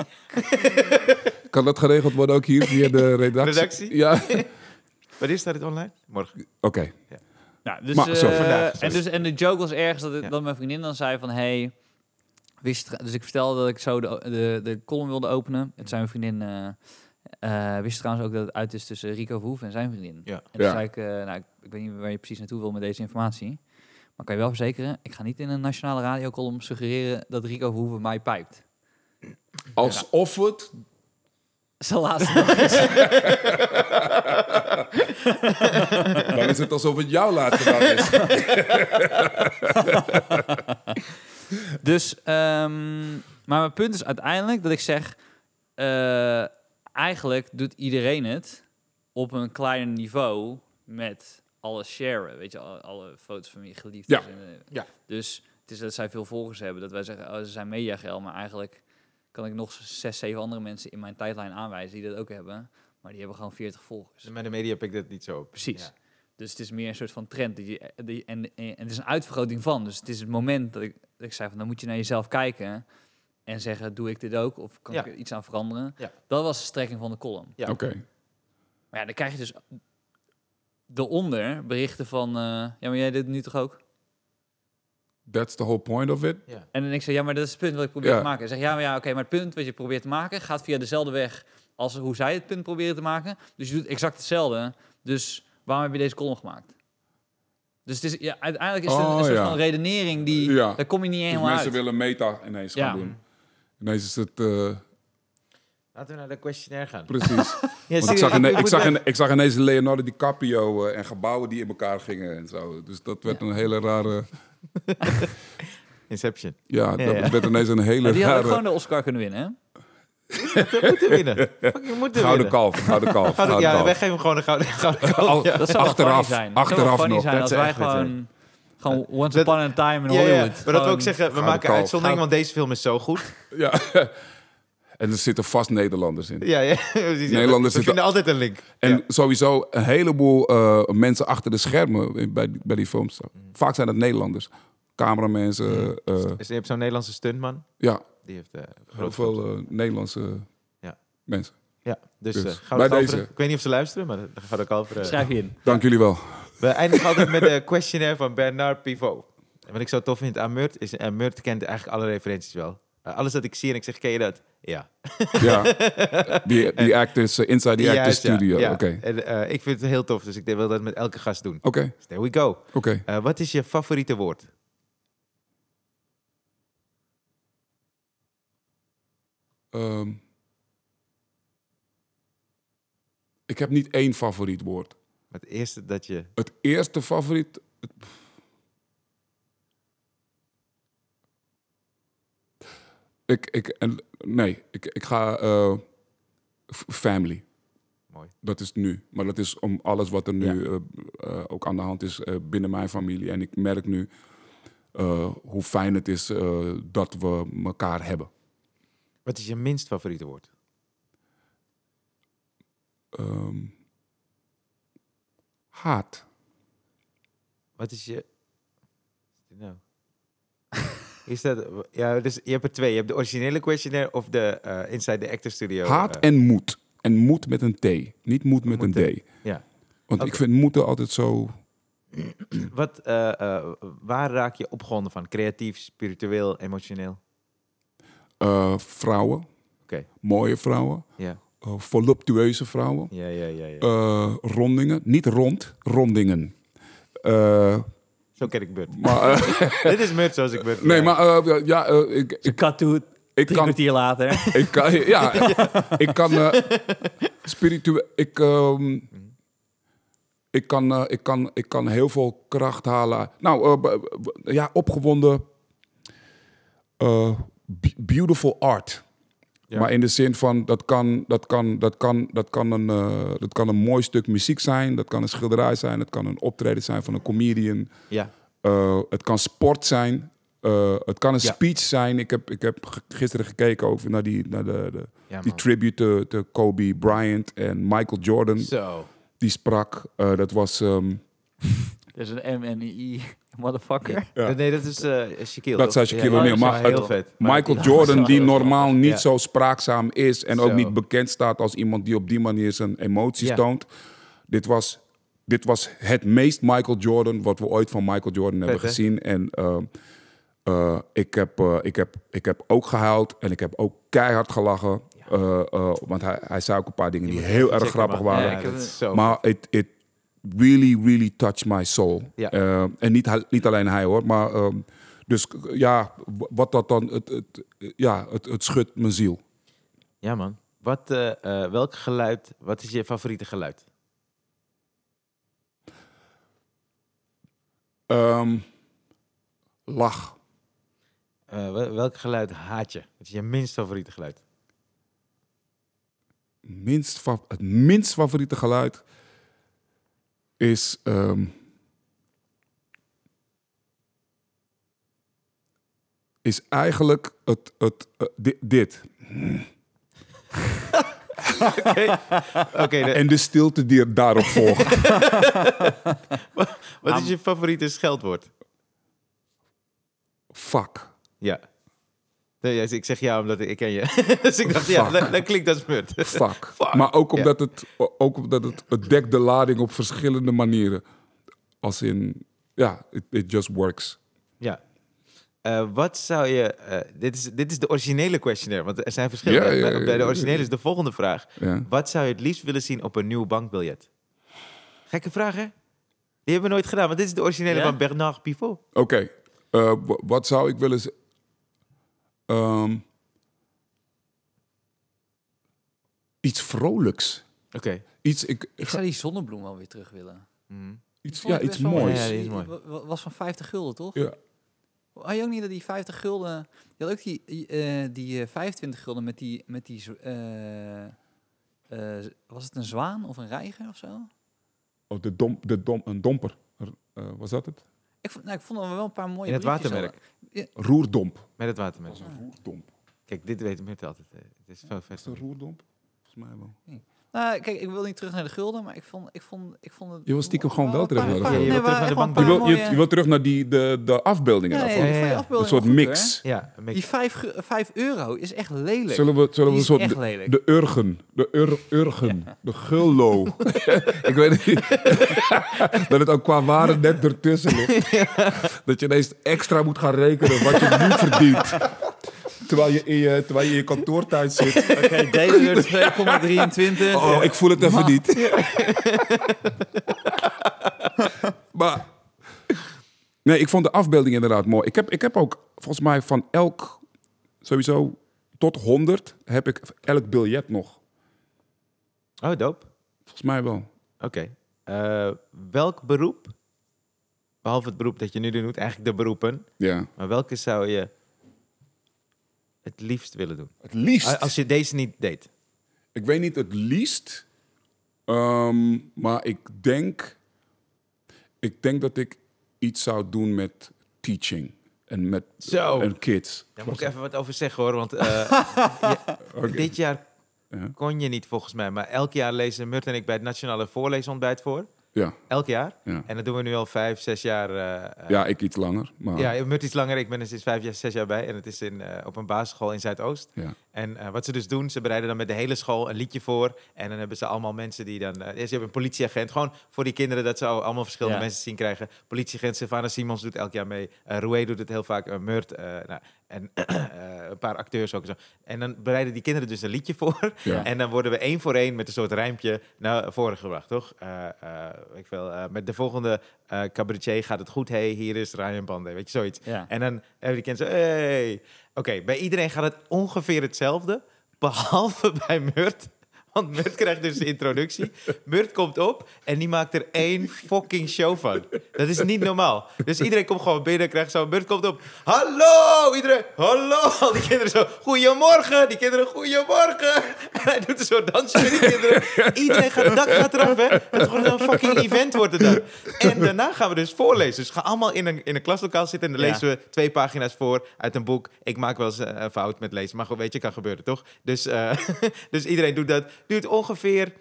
[SPEAKER 3] kan dat geregeld worden ook hier via
[SPEAKER 2] [laughs]
[SPEAKER 3] de redactie?
[SPEAKER 1] Redactie?
[SPEAKER 3] Ja, oké.
[SPEAKER 1] Wanneer staat het online? Morgen.
[SPEAKER 2] nou, dus,
[SPEAKER 3] maar zo,
[SPEAKER 2] eh,
[SPEAKER 1] vandaag,
[SPEAKER 2] en,
[SPEAKER 1] sorry.
[SPEAKER 2] dus, en de joke was ergens dat, het-
[SPEAKER 1] Ja.
[SPEAKER 2] dat mijn vriendin dan zei van... Hey, wist je tra- dus ik vertelde dat ik zo de, de, de column wilde openen. En toen zei mijn vriendin... eh, eh, wist je trouwens ook dat het uit is tussen Rico Verhoeven en zijn vriendin?
[SPEAKER 1] Ja.
[SPEAKER 2] En toen
[SPEAKER 3] Ja.
[SPEAKER 2] zei ik... eh, nou, ik, ik weet niet waar je precies naartoe wil met deze informatie. Maar kan je wel verzekeren... Ik ga niet in een nationale radiocolumn suggereren... dat Rico Verhoeven mij pijpt.
[SPEAKER 3] Alsof het...
[SPEAKER 2] Zijn
[SPEAKER 1] [laughs]
[SPEAKER 2] laatste dag is.
[SPEAKER 3] Dan is het alsof het jouw laatste dag is.
[SPEAKER 2] Dus, ehm, maar mijn punt is uiteindelijk dat ik zeg, eh, eigenlijk doet iedereen het op een kleiner niveau met alles sharen. Weet je, alle, alle foto's van je geliefden.
[SPEAKER 3] Ja.
[SPEAKER 2] En, eh,
[SPEAKER 1] Ja.
[SPEAKER 2] Dus het is dat zij veel volgers hebben, dat wij zeggen, oh, ze zijn mediageil, maar eigenlijk kan ik nog zes, zeven andere mensen in mijn tijdlijn aanwijzen die dat ook hebben, maar die hebben gewoon 40 volgers.
[SPEAKER 1] Dus Met de media heb ik dat niet zo op.
[SPEAKER 2] Precies.
[SPEAKER 1] Ja.
[SPEAKER 2] Dus het is meer een soort van trend. Dat je, dat je- en, en het is een uitvergroting van. Dus het is het moment dat ik, dat ik zei van dan moet je naar jezelf kijken en zeggen, doe ik dit ook? Of kan
[SPEAKER 1] Ja.
[SPEAKER 2] ik er iets aan veranderen?
[SPEAKER 1] Ja.
[SPEAKER 2] Dat was de strekking van de column.
[SPEAKER 1] Ja.
[SPEAKER 3] Oké.
[SPEAKER 2] Maar ja, dan krijg je dus daaronder berichten van, eh, ja, maar jij deed het nu toch ook?
[SPEAKER 3] That's the whole point of it.
[SPEAKER 1] Ja.
[SPEAKER 2] En dan denk ik zo, ja, maar dat is het punt wat ik probeer
[SPEAKER 3] Ja.
[SPEAKER 2] te maken. Ik zeg, ja, maar ja, oké, maar het punt wat je probeert te maken gaat via dezelfde weg als hoe zij het punt proberen te maken. Dus je doet exact hetzelfde. Dus waarom heb je deze column gemaakt? Dus het is, ja, uiteindelijk is het een,
[SPEAKER 3] Oh,
[SPEAKER 2] een soort
[SPEAKER 3] ja.
[SPEAKER 2] van redenering die,
[SPEAKER 3] Ja.
[SPEAKER 2] daar kom je niet
[SPEAKER 3] Dus
[SPEAKER 2] helemaal
[SPEAKER 3] mensen
[SPEAKER 2] uit.
[SPEAKER 3] willen meta ineens
[SPEAKER 2] Ja.
[SPEAKER 3] gaan doen. Ineens is het... eh,
[SPEAKER 1] Laten we naar de questionnaire gaan.
[SPEAKER 3] precies.
[SPEAKER 1] Ja,
[SPEAKER 3] Want ik, zag ine- ik, zag ine- ik zag ineens Leonardo DiCaprio eh, en gebouwen die in elkaar gingen en zo. Dus dat werd een hele rare...
[SPEAKER 1] Inception.
[SPEAKER 3] Ja,
[SPEAKER 1] Ja,
[SPEAKER 3] dat
[SPEAKER 1] ja.
[SPEAKER 3] werd ineens een hele
[SPEAKER 2] Maar die hadden ook
[SPEAKER 3] rare...
[SPEAKER 2] gewoon de Oscar kunnen winnen, hè?
[SPEAKER 1] Dat moeten
[SPEAKER 3] [laughs]
[SPEAKER 1] winnen. Fucking moeten
[SPEAKER 3] Gouden
[SPEAKER 1] winnen.
[SPEAKER 3] kalf, gouden kalf, gouden
[SPEAKER 1] ja, wij
[SPEAKER 3] kalf.
[SPEAKER 1] geven hem gewoon een gouden, gouden kalf.
[SPEAKER 3] Al-
[SPEAKER 2] Oh, Dat zou wel
[SPEAKER 3] Achteraf,
[SPEAKER 2] funny zijn. Dat zou wel
[SPEAKER 3] achteraf
[SPEAKER 2] funny
[SPEAKER 3] nog.
[SPEAKER 2] zijn
[SPEAKER 1] Dat
[SPEAKER 2] als
[SPEAKER 1] zou
[SPEAKER 2] wij
[SPEAKER 1] echt vet
[SPEAKER 2] gewoon, gewoon once
[SPEAKER 1] Dat-
[SPEAKER 2] upon a time in
[SPEAKER 1] Ja, ja,
[SPEAKER 2] Hollywood.
[SPEAKER 1] Maar dat wil
[SPEAKER 2] Gewoon-
[SPEAKER 1] ook zeggen, we
[SPEAKER 3] Gouden
[SPEAKER 1] maken
[SPEAKER 3] kalf.
[SPEAKER 1] uitzondering, want deze film is zo goed. [laughs]
[SPEAKER 3] Ja. [laughs] En er zitten vast Nederlanders in.
[SPEAKER 1] Ja, [laughs] ja. precies. Ja,
[SPEAKER 3] Nederlanders
[SPEAKER 1] we
[SPEAKER 3] zitten-
[SPEAKER 1] vinden altijd een link.
[SPEAKER 3] En
[SPEAKER 1] Ja.
[SPEAKER 3] sowieso een heleboel eh, mensen achter de schermen bij, die- bij die films. Vaak zijn dat Nederlanders. Cameramensen, eh,
[SPEAKER 1] Dus je hebt zo'n Nederlandse stuntman.
[SPEAKER 3] ja,
[SPEAKER 1] Die heeft eh
[SPEAKER 3] heel
[SPEAKER 1] groot
[SPEAKER 3] veel eh, Nederlandse
[SPEAKER 1] Ja.
[SPEAKER 3] mensen.
[SPEAKER 1] Ja, dus,
[SPEAKER 3] Dus,
[SPEAKER 1] eh, gaan
[SPEAKER 3] bij
[SPEAKER 1] we het over-
[SPEAKER 3] deze.
[SPEAKER 1] Ik weet niet of ze luisteren, maar daar gaat ook over. eh.
[SPEAKER 2] Schrijf je in.
[SPEAKER 3] Dank jullie wel.
[SPEAKER 1] We eindigen altijd met de questionnaire van Bernard Pivot. En wat ik zo tof vind aan Murt, is eh Murt kent eigenlijk alle referenties wel. Eh, alles dat ik zie en ik zeg, ken je dat? Ja. [laughs]
[SPEAKER 3] Ja. Die, die actors, eh, Inside the Actors
[SPEAKER 1] Juist, ja,
[SPEAKER 3] Studio.
[SPEAKER 1] ja.
[SPEAKER 3] Oké, oké, Oh.
[SPEAKER 1] En, eh, ik vind het heel tof, dus ik wil dat met elke gast doen.
[SPEAKER 3] oké.
[SPEAKER 1] Dus there we go. Eh, wat is je favoriete woord?
[SPEAKER 3] Ehm, ik heb niet één favoriet woord.
[SPEAKER 1] Het eerste dat je...
[SPEAKER 3] Het eerste favoriet. het- Ik, ik, en, nee, ik, ik ga eh, f- family.
[SPEAKER 1] Mooi.
[SPEAKER 3] Dat is nu. Maar dat is om alles wat er nu
[SPEAKER 1] Ja.
[SPEAKER 3] eh, eh, ook aan de hand is eh, binnen mijn familie. En ik merk nu eh, hoe fijn het is eh, dat we elkaar hebben.
[SPEAKER 1] Wat is je minst favoriete woord?
[SPEAKER 3] Ehm, haat.
[SPEAKER 1] Wat is je...
[SPEAKER 3] [laughs]
[SPEAKER 1] Nou. Is dat... Ja, dus je hebt er twee. Je hebt de originele questionnaire of de eh, Inside the Actor Studio.
[SPEAKER 3] Haat
[SPEAKER 1] eh,
[SPEAKER 3] en moed. En moed met een T. Niet moed met
[SPEAKER 1] Moed,
[SPEAKER 3] een D.
[SPEAKER 1] ja.
[SPEAKER 3] Want ik
[SPEAKER 1] Oké.
[SPEAKER 3] vind moeten altijd zo...
[SPEAKER 1] Wat, eh, eh, waar raak je opgewonden van? Creatief, spiritueel, emotioneel?
[SPEAKER 3] eh, vrouwen.
[SPEAKER 1] Oké.
[SPEAKER 3] Mooie vrouwen.
[SPEAKER 1] Ja,
[SPEAKER 3] eh, voluptueuze vrouwen.
[SPEAKER 1] ja, ja, ja. ja.
[SPEAKER 3] eh, rondingen. Niet rond. Rondingen. Eh,
[SPEAKER 1] Zo ken ik Bert.
[SPEAKER 3] maar, eh, [laughs]
[SPEAKER 1] Dit is Murt zoals ik Bert.
[SPEAKER 3] nee,
[SPEAKER 1] ken.
[SPEAKER 3] maar eh, ja, eh, ik, ik,
[SPEAKER 2] Ik cut to
[SPEAKER 3] ik
[SPEAKER 2] drie
[SPEAKER 3] kan...
[SPEAKER 2] kwartier later. [laughs]
[SPEAKER 3] Ik kan, ja, ik kan eh spiritueel. Ik, ehm, ik, kan, eh, ik, kan, ik kan heel veel kracht halen. Nou, eh, b- b- ja, opgewonden. eh, be- beautiful art.
[SPEAKER 1] Ja.
[SPEAKER 3] Maar in de zin van dat kan, dat, kan, dat, kan, dat, kan een, eh, dat kan een mooi stuk muziek zijn, dat kan een schilderij zijn, dat kan een optreden zijn van een comedian.
[SPEAKER 1] Ja,
[SPEAKER 3] Eh, het kan sport zijn. Eh, het kan een
[SPEAKER 1] Ja.
[SPEAKER 3] speech zijn. Ik heb, ik heb ge- gisteren gekeken over naar die, naar de, de,
[SPEAKER 1] ja
[SPEAKER 3] die
[SPEAKER 1] man.
[SPEAKER 3] tribute te, te Kobe Bryant en Michael Jordan.
[SPEAKER 1] Zo.
[SPEAKER 3] Die sprak. Eh, dat was. ehm,
[SPEAKER 2] Er is een MNI motherfucker.
[SPEAKER 3] Ja.
[SPEAKER 1] Nee, dat is eh Shaquille.
[SPEAKER 3] Dat
[SPEAKER 1] toch?
[SPEAKER 3] zei Shaquille
[SPEAKER 1] Ja, ja,
[SPEAKER 3] O'Neal,
[SPEAKER 1] dat
[SPEAKER 3] maar
[SPEAKER 1] is heel
[SPEAKER 3] het-
[SPEAKER 1] vet.
[SPEAKER 3] Michael Jordan, die normaal niet
[SPEAKER 1] Ja.
[SPEAKER 3] zo spraakzaam is en ook
[SPEAKER 1] Zo.
[SPEAKER 3] niet bekend staat als iemand die op die manier zijn emoties
[SPEAKER 1] Ja.
[SPEAKER 3] toont. Dit was, dit was het meest Michael Jordan wat we ooit van Michael Jordan hebben
[SPEAKER 1] hè?
[SPEAKER 3] gezien. En eh, eh, ik, heb, eh, ik, heb, ik heb ook gehuild en ik heb ook keihard gelachen. Eh, eh, want hij, hij zei ook een paar dingen die heel erg grappig waren.
[SPEAKER 1] Ja, dat is zo.
[SPEAKER 3] Maar it, it really, really touched my soul.
[SPEAKER 1] Ja.
[SPEAKER 3] Eh, en niet, hij- niet alleen hij hoor, maar ehm, dus k- ja, w- wat dat dan, het, het, ja, het, het schudt mijn ziel.
[SPEAKER 1] ja, man. Wat, eh, eh, welk geluid, wat is je favoriete geluid?
[SPEAKER 3] Ehm, lach.
[SPEAKER 1] Eh, wel- welk geluid haat je? Wat is je minst favoriete
[SPEAKER 3] [laughs]
[SPEAKER 1] geluid?
[SPEAKER 3] Minst fa- het minst favoriete geluid is. ehm, is eigenlijk het, het, eh, di- dit.
[SPEAKER 1] Oké, de-
[SPEAKER 3] En de stilte die er daarop volgt.
[SPEAKER 1] [laughs] wat
[SPEAKER 3] um-
[SPEAKER 1] is je favoriete scheldwoord?
[SPEAKER 3] Fuck.
[SPEAKER 1] Ja. Nee, ja, dus ik zeg ja, omdat ik, ik ken je. [laughs] dus ik dacht, ja,
[SPEAKER 3] Fuck.
[SPEAKER 1] dat, dat klinkt als Murt.
[SPEAKER 3] [laughs] Fuck.
[SPEAKER 1] Fuck.
[SPEAKER 3] Maar ook omdat, het, ook omdat het, het dekt de lading op verschillende manieren. Als in, ja, it, it just
[SPEAKER 1] [laughs]
[SPEAKER 3] works.
[SPEAKER 1] Ja. eh, wat zou je... eh, dit, is, dit is de originele questionnaire, want er zijn verschillen.
[SPEAKER 3] Ja, ja, ja,
[SPEAKER 1] Bij- Bij de
[SPEAKER 3] ja,
[SPEAKER 1] originele
[SPEAKER 3] ja.
[SPEAKER 1] is de volgende vraag.
[SPEAKER 3] Ja.
[SPEAKER 1] Wat zou je het liefst willen zien op een nieuw bankbiljet? Gekke vraag, hè? Die hebben we nooit gedaan, want dit is de originele
[SPEAKER 2] Ja?
[SPEAKER 1] van Bernard Pivot.
[SPEAKER 3] Oké, eh, wa- wat zou ik willen... z- Ehm, iets vrolijks.
[SPEAKER 1] Oké.
[SPEAKER 3] Iets, ik,
[SPEAKER 2] Ik zou die zonnebloem wel weer terug willen.
[SPEAKER 1] Mhm.
[SPEAKER 3] iets,
[SPEAKER 2] Vond ik
[SPEAKER 3] ja, iets
[SPEAKER 2] best wel
[SPEAKER 3] moois.
[SPEAKER 1] Ja, ja,
[SPEAKER 2] Die
[SPEAKER 1] die is mooi.
[SPEAKER 2] wa- wa- Was van 50 gulden, toch?
[SPEAKER 3] Ja.
[SPEAKER 2] Had je ook niet dat die 50 gulden... Je had ook die, eh, die eh, 25 gulden met die... Met die z- eh, eh, z- was het een zwaan of een reiger of zo?
[SPEAKER 3] Oh, de dom, de dom, een domper. Er- eh, was dat het?
[SPEAKER 2] Ik vond, nou, ik vond er wel een paar mooie
[SPEAKER 1] In het
[SPEAKER 2] briefjes
[SPEAKER 1] watermerk.
[SPEAKER 3] Roerdomp.
[SPEAKER 1] Met het watermerk.
[SPEAKER 3] een roerdomp.
[SPEAKER 1] Kijk, dit weet Myrthe altijd. hè. Het is veel vet.
[SPEAKER 3] roerdomp? Volgens mij wel.
[SPEAKER 2] al. Nou, kijk, ik wil niet terug naar de gulden, maar ik vond, ik vond, ik vond het...
[SPEAKER 3] Je wil stiekem gewoon wel terug naar de
[SPEAKER 2] Een paar-
[SPEAKER 1] gulden. Je
[SPEAKER 2] nee,
[SPEAKER 1] wil terug naar de bank.
[SPEAKER 3] Je
[SPEAKER 2] maar echt wel
[SPEAKER 3] wil,
[SPEAKER 2] een
[SPEAKER 3] je,
[SPEAKER 2] paar
[SPEAKER 3] je
[SPEAKER 2] mooie-
[SPEAKER 3] wil terug naar die, de, de afbeeldingen
[SPEAKER 2] Nee,
[SPEAKER 3] daarvan.
[SPEAKER 2] die
[SPEAKER 1] Ah, Ja, ja,
[SPEAKER 2] vond je
[SPEAKER 1] ja.
[SPEAKER 2] afbeelding
[SPEAKER 3] een soort
[SPEAKER 2] wel goed,
[SPEAKER 3] mix.
[SPEAKER 1] Ja, een beetje-
[SPEAKER 2] Die 5, euro is echt lelijk.
[SPEAKER 3] Zullen we, zullen we
[SPEAKER 2] Die
[SPEAKER 3] een
[SPEAKER 2] is
[SPEAKER 3] soort
[SPEAKER 2] echt
[SPEAKER 3] de-
[SPEAKER 2] lelijk.
[SPEAKER 3] de urgen, de ur, urgen, de
[SPEAKER 2] [laughs]
[SPEAKER 3] gullo. ik weet het niet. [laughs] dat het ook qua waarde net ertussen ligt. dat je ineens extra moet gaan rekenen wat je nu
[SPEAKER 2] [laughs]
[SPEAKER 3] verdient. Terwijl je in je, terwijl je, in je kantoor thuis zit.
[SPEAKER 4] Oké,
[SPEAKER 3] [laughs]
[SPEAKER 4] deze 2,23.
[SPEAKER 3] Oh, ik voel het even niet. [laughs] maar. Nee, ik vond de afbeelding inderdaad mooi. Ik heb, ik heb ook volgens mij van elk, sowieso tot 100, heb ik elk biljet nog.
[SPEAKER 1] Oh, dope.
[SPEAKER 3] Volgens mij wel.
[SPEAKER 1] Oké. Eh, welk beroep, behalve het beroep dat je nu doet, eigenlijk de beroepen,
[SPEAKER 3] Ja.
[SPEAKER 1] maar welke zou je het liefst willen doen?
[SPEAKER 3] Het liefst.
[SPEAKER 1] Als je deze niet deed.
[SPEAKER 3] Ik weet niet het liefst, ehm, maar ik denk, ik denk dat ik iets zou doen met teaching en met
[SPEAKER 1] Zo.
[SPEAKER 3] en kids.
[SPEAKER 1] Daar moet ik even wat over zeggen hoor,
[SPEAKER 3] [laughs]
[SPEAKER 1] want eh,
[SPEAKER 3] Oké.
[SPEAKER 1] dit jaar
[SPEAKER 3] Ja.
[SPEAKER 1] kon je niet volgens mij, maar elk jaar lezen Murt en ik bij het Nationale Voorleesontbijt voor.
[SPEAKER 3] Ja,
[SPEAKER 1] Elk jaar.
[SPEAKER 3] Ja.
[SPEAKER 1] En dat doen we nu al vijf, zes jaar. eh, eh,
[SPEAKER 3] ja, ik iets langer, maar ja.
[SPEAKER 1] Ja, Murt iets langer. Ik ben er sinds vijf, jaar- zes jaar bij. En het is in, eh, op een basisschool in Zuidoost. En eh, wat ze dus doen, ze bereiden dan met de hele school een liedje voor. En dan hebben ze allemaal mensen die dan... eh, ze hebben een politieagent, gewoon voor die kinderen... dat ze al- allemaal verschillende
[SPEAKER 4] Ja.
[SPEAKER 1] mensen zien krijgen. Politieagent Sylvana Simons doet elk jaar mee. Eh Roué doet het heel vaak. eh, Murt eh, nou, en [clears throat] eh, een paar acteurs ook. En, zo. en dan bereiden die kinderen dus een liedje [laughs] voor.
[SPEAKER 3] Ja.
[SPEAKER 1] En dan worden we één voor één met een soort rijmpje naar voren gebracht, toch? Eh, eh, weet ik veel, eh, met de volgende eh cabaretier gaat het goed. hey, hier is Ryan Pandey, weet je, zoiets.
[SPEAKER 4] Ja.
[SPEAKER 1] En dan hebben die kinderen zo, hey. Oké, bij iedereen gaat het ongeveer hetzelfde, behalve [laughs] bij Murt. Want Murt krijgt dus de introductie. Murt komt op en die maakt er één fucking show van. Dat is niet normaal. Dus iedereen komt gewoon binnen, krijgt zo. Murt komt op. Hallo, iedereen. Hallo. [laughs] Al die kinderen zo. Goedemorgen. Die kinderen, goedemorgen. En hij doet een soort dansje met die kinderen. Iedereen gaat, dak gaat eraf, hè. Het wordt een fucking event wordt het dan. En daarna gaan we dus voorlezen. Dus ga allemaal in een, in een klaslokaal zitten en dan
[SPEAKER 4] Ja.
[SPEAKER 1] lezen we twee pagina's voor uit een boek. Ik maak wel eens eh, een fout met lezen, maar goed, weet je, kan gebeuren, toch? Dus, eh, [laughs] dus iedereen doet dat. Duurt ongeveer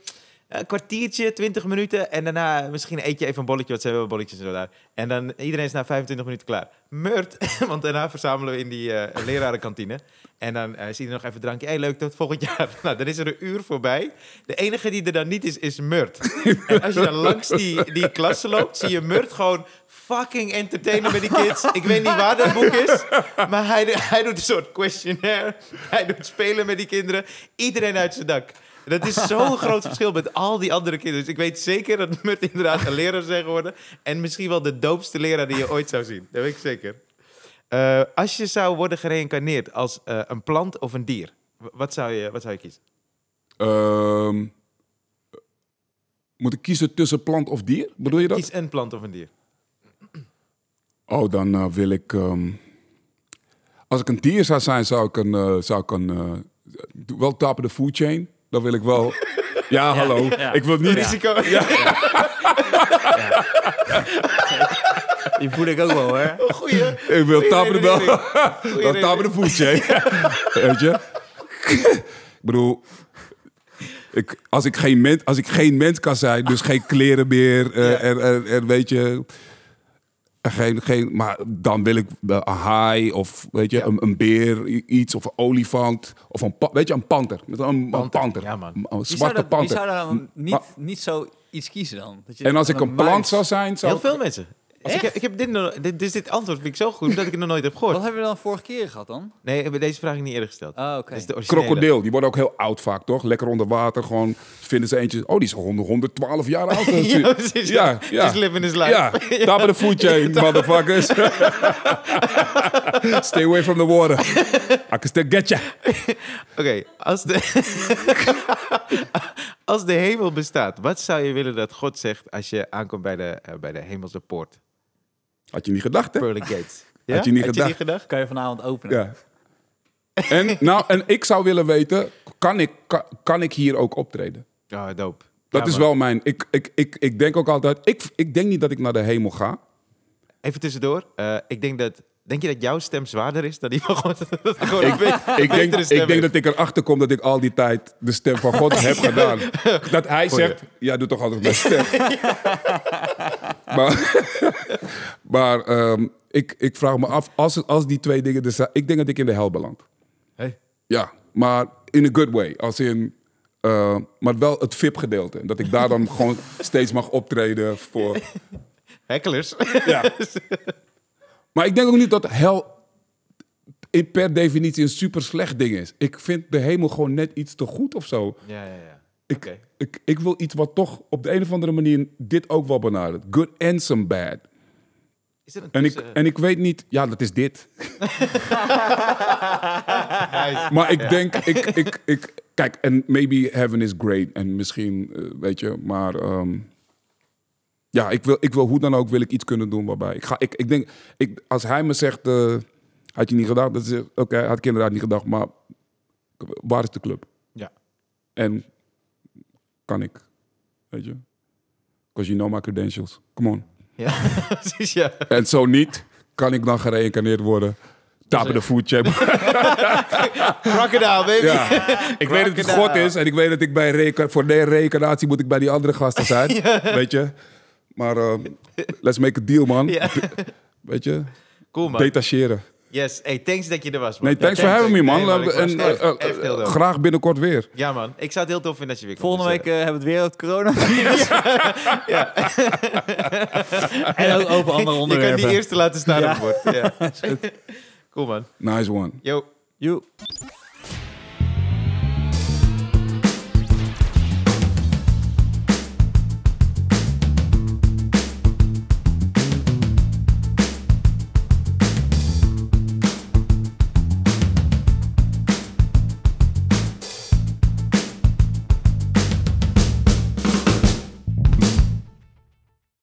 [SPEAKER 1] een kwartiertje, 20 minuten. En daarna misschien eet je even een bolletje, want ze hebben bolletjes en zo daar. En dan iedereen is na 25 minuten klaar. Murt, [laughs] want daarna verzamelen we in die eh, lerarenkantine. En dan eh, is iedereen nog even drankje. hey, leuk, tot volgend jaar. [laughs] Nou, dan is er een uur voorbij. De enige die er dan niet is, is Murt. En als je dan langs die, die klasse loopt, zie je Murt gewoon fucking entertainen met die kids. Ik weet niet waar dat boek is, maar hij, hij doet een soort questionnaire. Hij doet spelen met die kinderen. Iedereen uit zijn dak. Dat is zo'n groot verschil met al die andere kinderen. Dus ik weet zeker dat Murt inderdaad een leraar zou worden. En misschien wel de doopste leraar die je ooit zou zien. Dat weet ik zeker. Eh, als je zou worden gereïncarneerd als eh, een plant of een dier, w- wat zou je, wat zou je kiezen?
[SPEAKER 3] Ehm, moet ik kiezen tussen plant of dier? Bedoel je dat?
[SPEAKER 1] Kies een plant of een dier.
[SPEAKER 3] Oh, dan eh, wil ik. ehm, als ik een dier zou zijn, zou ik een. eh, zou ik een eh, doe- wel tappen de food chain. Dan wil ik
[SPEAKER 4] [laughs]
[SPEAKER 3] wel. Ja, hallo.
[SPEAKER 4] ja.
[SPEAKER 3] Ik wil niet.
[SPEAKER 1] Risico. [laughs]
[SPEAKER 4] Die voel ik ook wel hoor.
[SPEAKER 1] Goeie.
[SPEAKER 3] Ik wil tappen de wel. [laughs]
[SPEAKER 1] Goeie
[SPEAKER 3] Dan tappen de
[SPEAKER 1] [laughs]
[SPEAKER 3] food chain. Weet je? ik bedoel. Ik, als, ik geen mens, als ik geen mens kan zijn, dus geen kleren meer. eh, en, en, en weet je. en Geen, geen, maar dan wil ik eh, een haai of weet je, een, een beer, i- iets of een olifant. Of een, pa- weet je, een panter. Met een- een panter.
[SPEAKER 1] Panter, ja, man.
[SPEAKER 3] Een- Een
[SPEAKER 2] Wie zou,
[SPEAKER 3] zwarte
[SPEAKER 2] dat, wie
[SPEAKER 3] panter.
[SPEAKER 2] zou daar dan
[SPEAKER 3] Maar-
[SPEAKER 2] niet, niet zo iets kiezen dan? Dat je
[SPEAKER 3] En als
[SPEAKER 2] dan
[SPEAKER 3] ik een plant
[SPEAKER 2] muis-
[SPEAKER 3] zou zijn, zou
[SPEAKER 1] Heel
[SPEAKER 3] ik-
[SPEAKER 1] veel mensen. Als ik, ik heb dit, nog- dit, dus dit antwoord vind ik zo goed dat ik het nog nooit heb
[SPEAKER 2] Wat
[SPEAKER 1] gehoord.
[SPEAKER 2] hebben we dan vorige keer gehad dan?
[SPEAKER 1] Nee, ik heb deze vraag niet eerder gesteld.
[SPEAKER 2] Oh, oké.
[SPEAKER 1] Dit is de originele.
[SPEAKER 3] Krokodil, die worden ook heel oud vaak, toch? Lekker onder water, gewoon vinden ze eentje. Oh, die is 100, 112 jaar
[SPEAKER 1] [laughs]
[SPEAKER 3] oud.
[SPEAKER 1] [laughs]
[SPEAKER 3] eh,
[SPEAKER 1] ja, precies.
[SPEAKER 3] ja, ja.
[SPEAKER 1] Just living his life.
[SPEAKER 3] Ja, top of the food
[SPEAKER 1] [laughs]
[SPEAKER 3] chain, motherfuckers. Stay away from the water. I can still get ya.
[SPEAKER 1] Oké, als, de [laughs] als de hemel bestaat, wat zou je willen dat God zegt als je aankomt bij de, eh, bij de hemelse poort?
[SPEAKER 3] Had je niet gedacht, hè?
[SPEAKER 1] Pearly gates. Ja?
[SPEAKER 3] Had je niet gedacht?
[SPEAKER 2] Kan je vanavond openen?
[SPEAKER 3] Ja. En, nou, en ik zou willen weten, kan ik, kan, kan ik hier ook optreden?
[SPEAKER 1] Oh, dope.
[SPEAKER 3] Dat
[SPEAKER 1] Ja,
[SPEAKER 3] is
[SPEAKER 1] man.
[SPEAKER 3] wel mijn... Ik, ik, ik, ik denk ook altijd... Ik, ik denk niet dat ik naar de hemel ga.
[SPEAKER 1] Even tussendoor. eh, ik denk dat... Denk je dat jouw stem zwaarder is dan die van God? [laughs] Dat het gewoon een be-
[SPEAKER 3] Ik denk,
[SPEAKER 1] betere stem
[SPEAKER 3] ik denk
[SPEAKER 1] heeft.
[SPEAKER 3] dat ik erachter kom dat ik al die tijd de stem van
[SPEAKER 1] [laughs]
[SPEAKER 3] God heb gedaan. Dat hij
[SPEAKER 1] Goeie.
[SPEAKER 3] zegt, ja, doe toch altijd mijn stem.
[SPEAKER 1] [laughs]
[SPEAKER 3] maar [laughs] maar ehm, ik, ik vraag me af, als, het- als die twee dingen er zijn... Ik denk dat ik in de hel beland.
[SPEAKER 1] Hey.
[SPEAKER 3] Ja, maar in a good way. Als in, eh, maar wel het VIP-gedeelte. Dat ik daar
[SPEAKER 1] [laughs]
[SPEAKER 3] dan gewoon steeds mag optreden voor...
[SPEAKER 1] Hecklers.
[SPEAKER 3] Ja. Maar ik denk ook niet dat hel in per definitie een super slecht ding is. Ik vind de hemel gewoon net iets te goed of zo.
[SPEAKER 1] ja, ja, ja.
[SPEAKER 3] Ik,
[SPEAKER 1] Oké.
[SPEAKER 3] ik, ik wil iets wat toch op de een of andere manier dit ook wel benadert. Good and some bad.
[SPEAKER 1] Is er een
[SPEAKER 3] En ik,
[SPEAKER 1] tussen- [laughs]
[SPEAKER 3] en ik weet niet, ja, dat is dit.
[SPEAKER 1] Nice.
[SPEAKER 3] Maar ik denk, ik, ik, ik, kijk, en maybe heaven is great. En misschien, eh, weet je, maar ehm, ja, ik wil, ik wil hoe dan ook, wil ik iets kunnen doen waarbij. Ik, ga, ik, ik denk, ik, als hij me zegt, eh, had je niet gedacht, dat is eh, oké, had ik inderdaad niet gedacht, maar waar is de club?
[SPEAKER 1] Ja. [laughs]
[SPEAKER 3] En kan ik, weet je, because you know my credentials, come on.
[SPEAKER 1] Ja, precies, ja.
[SPEAKER 3] En zo niet, kan ik dan gereïncarneerd worden? Tapen de food chain.
[SPEAKER 1] Crocodile, baby.
[SPEAKER 3] Ja, [laughs] ik weet dat het
[SPEAKER 1] Crocodile.
[SPEAKER 3] God is en ik weet dat ik bij reca- voor de reïncarnatie moet ik bij die andere gasten
[SPEAKER 1] [laughs]
[SPEAKER 3] zijn, weet je. Maar ehm, let's make a deal, man.
[SPEAKER 1] Ja.
[SPEAKER 3] [laughs] Weet je,
[SPEAKER 1] Cool, man.
[SPEAKER 3] detacheren.
[SPEAKER 1] Yes. Hey, thanks dat je er was, man.
[SPEAKER 3] Nee, thanks
[SPEAKER 1] Ja,
[SPEAKER 3] for having me, man.
[SPEAKER 1] Nee, ik was
[SPEAKER 3] en, eh,
[SPEAKER 1] echt-
[SPEAKER 3] eh,
[SPEAKER 1] echt heel dope.
[SPEAKER 3] graag binnenkort weer.
[SPEAKER 1] Ja, man. Ik zou het heel tof vinden als je weer komt.
[SPEAKER 2] Volgende
[SPEAKER 1] Dus,
[SPEAKER 2] week eh, hebben we het weer over het coronavirus. [laughs] en ook over eh, andere
[SPEAKER 1] eh, [laughs] Je kan
[SPEAKER 2] onderwerpen.
[SPEAKER 3] [laughs]
[SPEAKER 1] die eerste laten staan op het bord. Ja. Cool, man.
[SPEAKER 3] Nice one.
[SPEAKER 1] Yo.
[SPEAKER 2] Joe.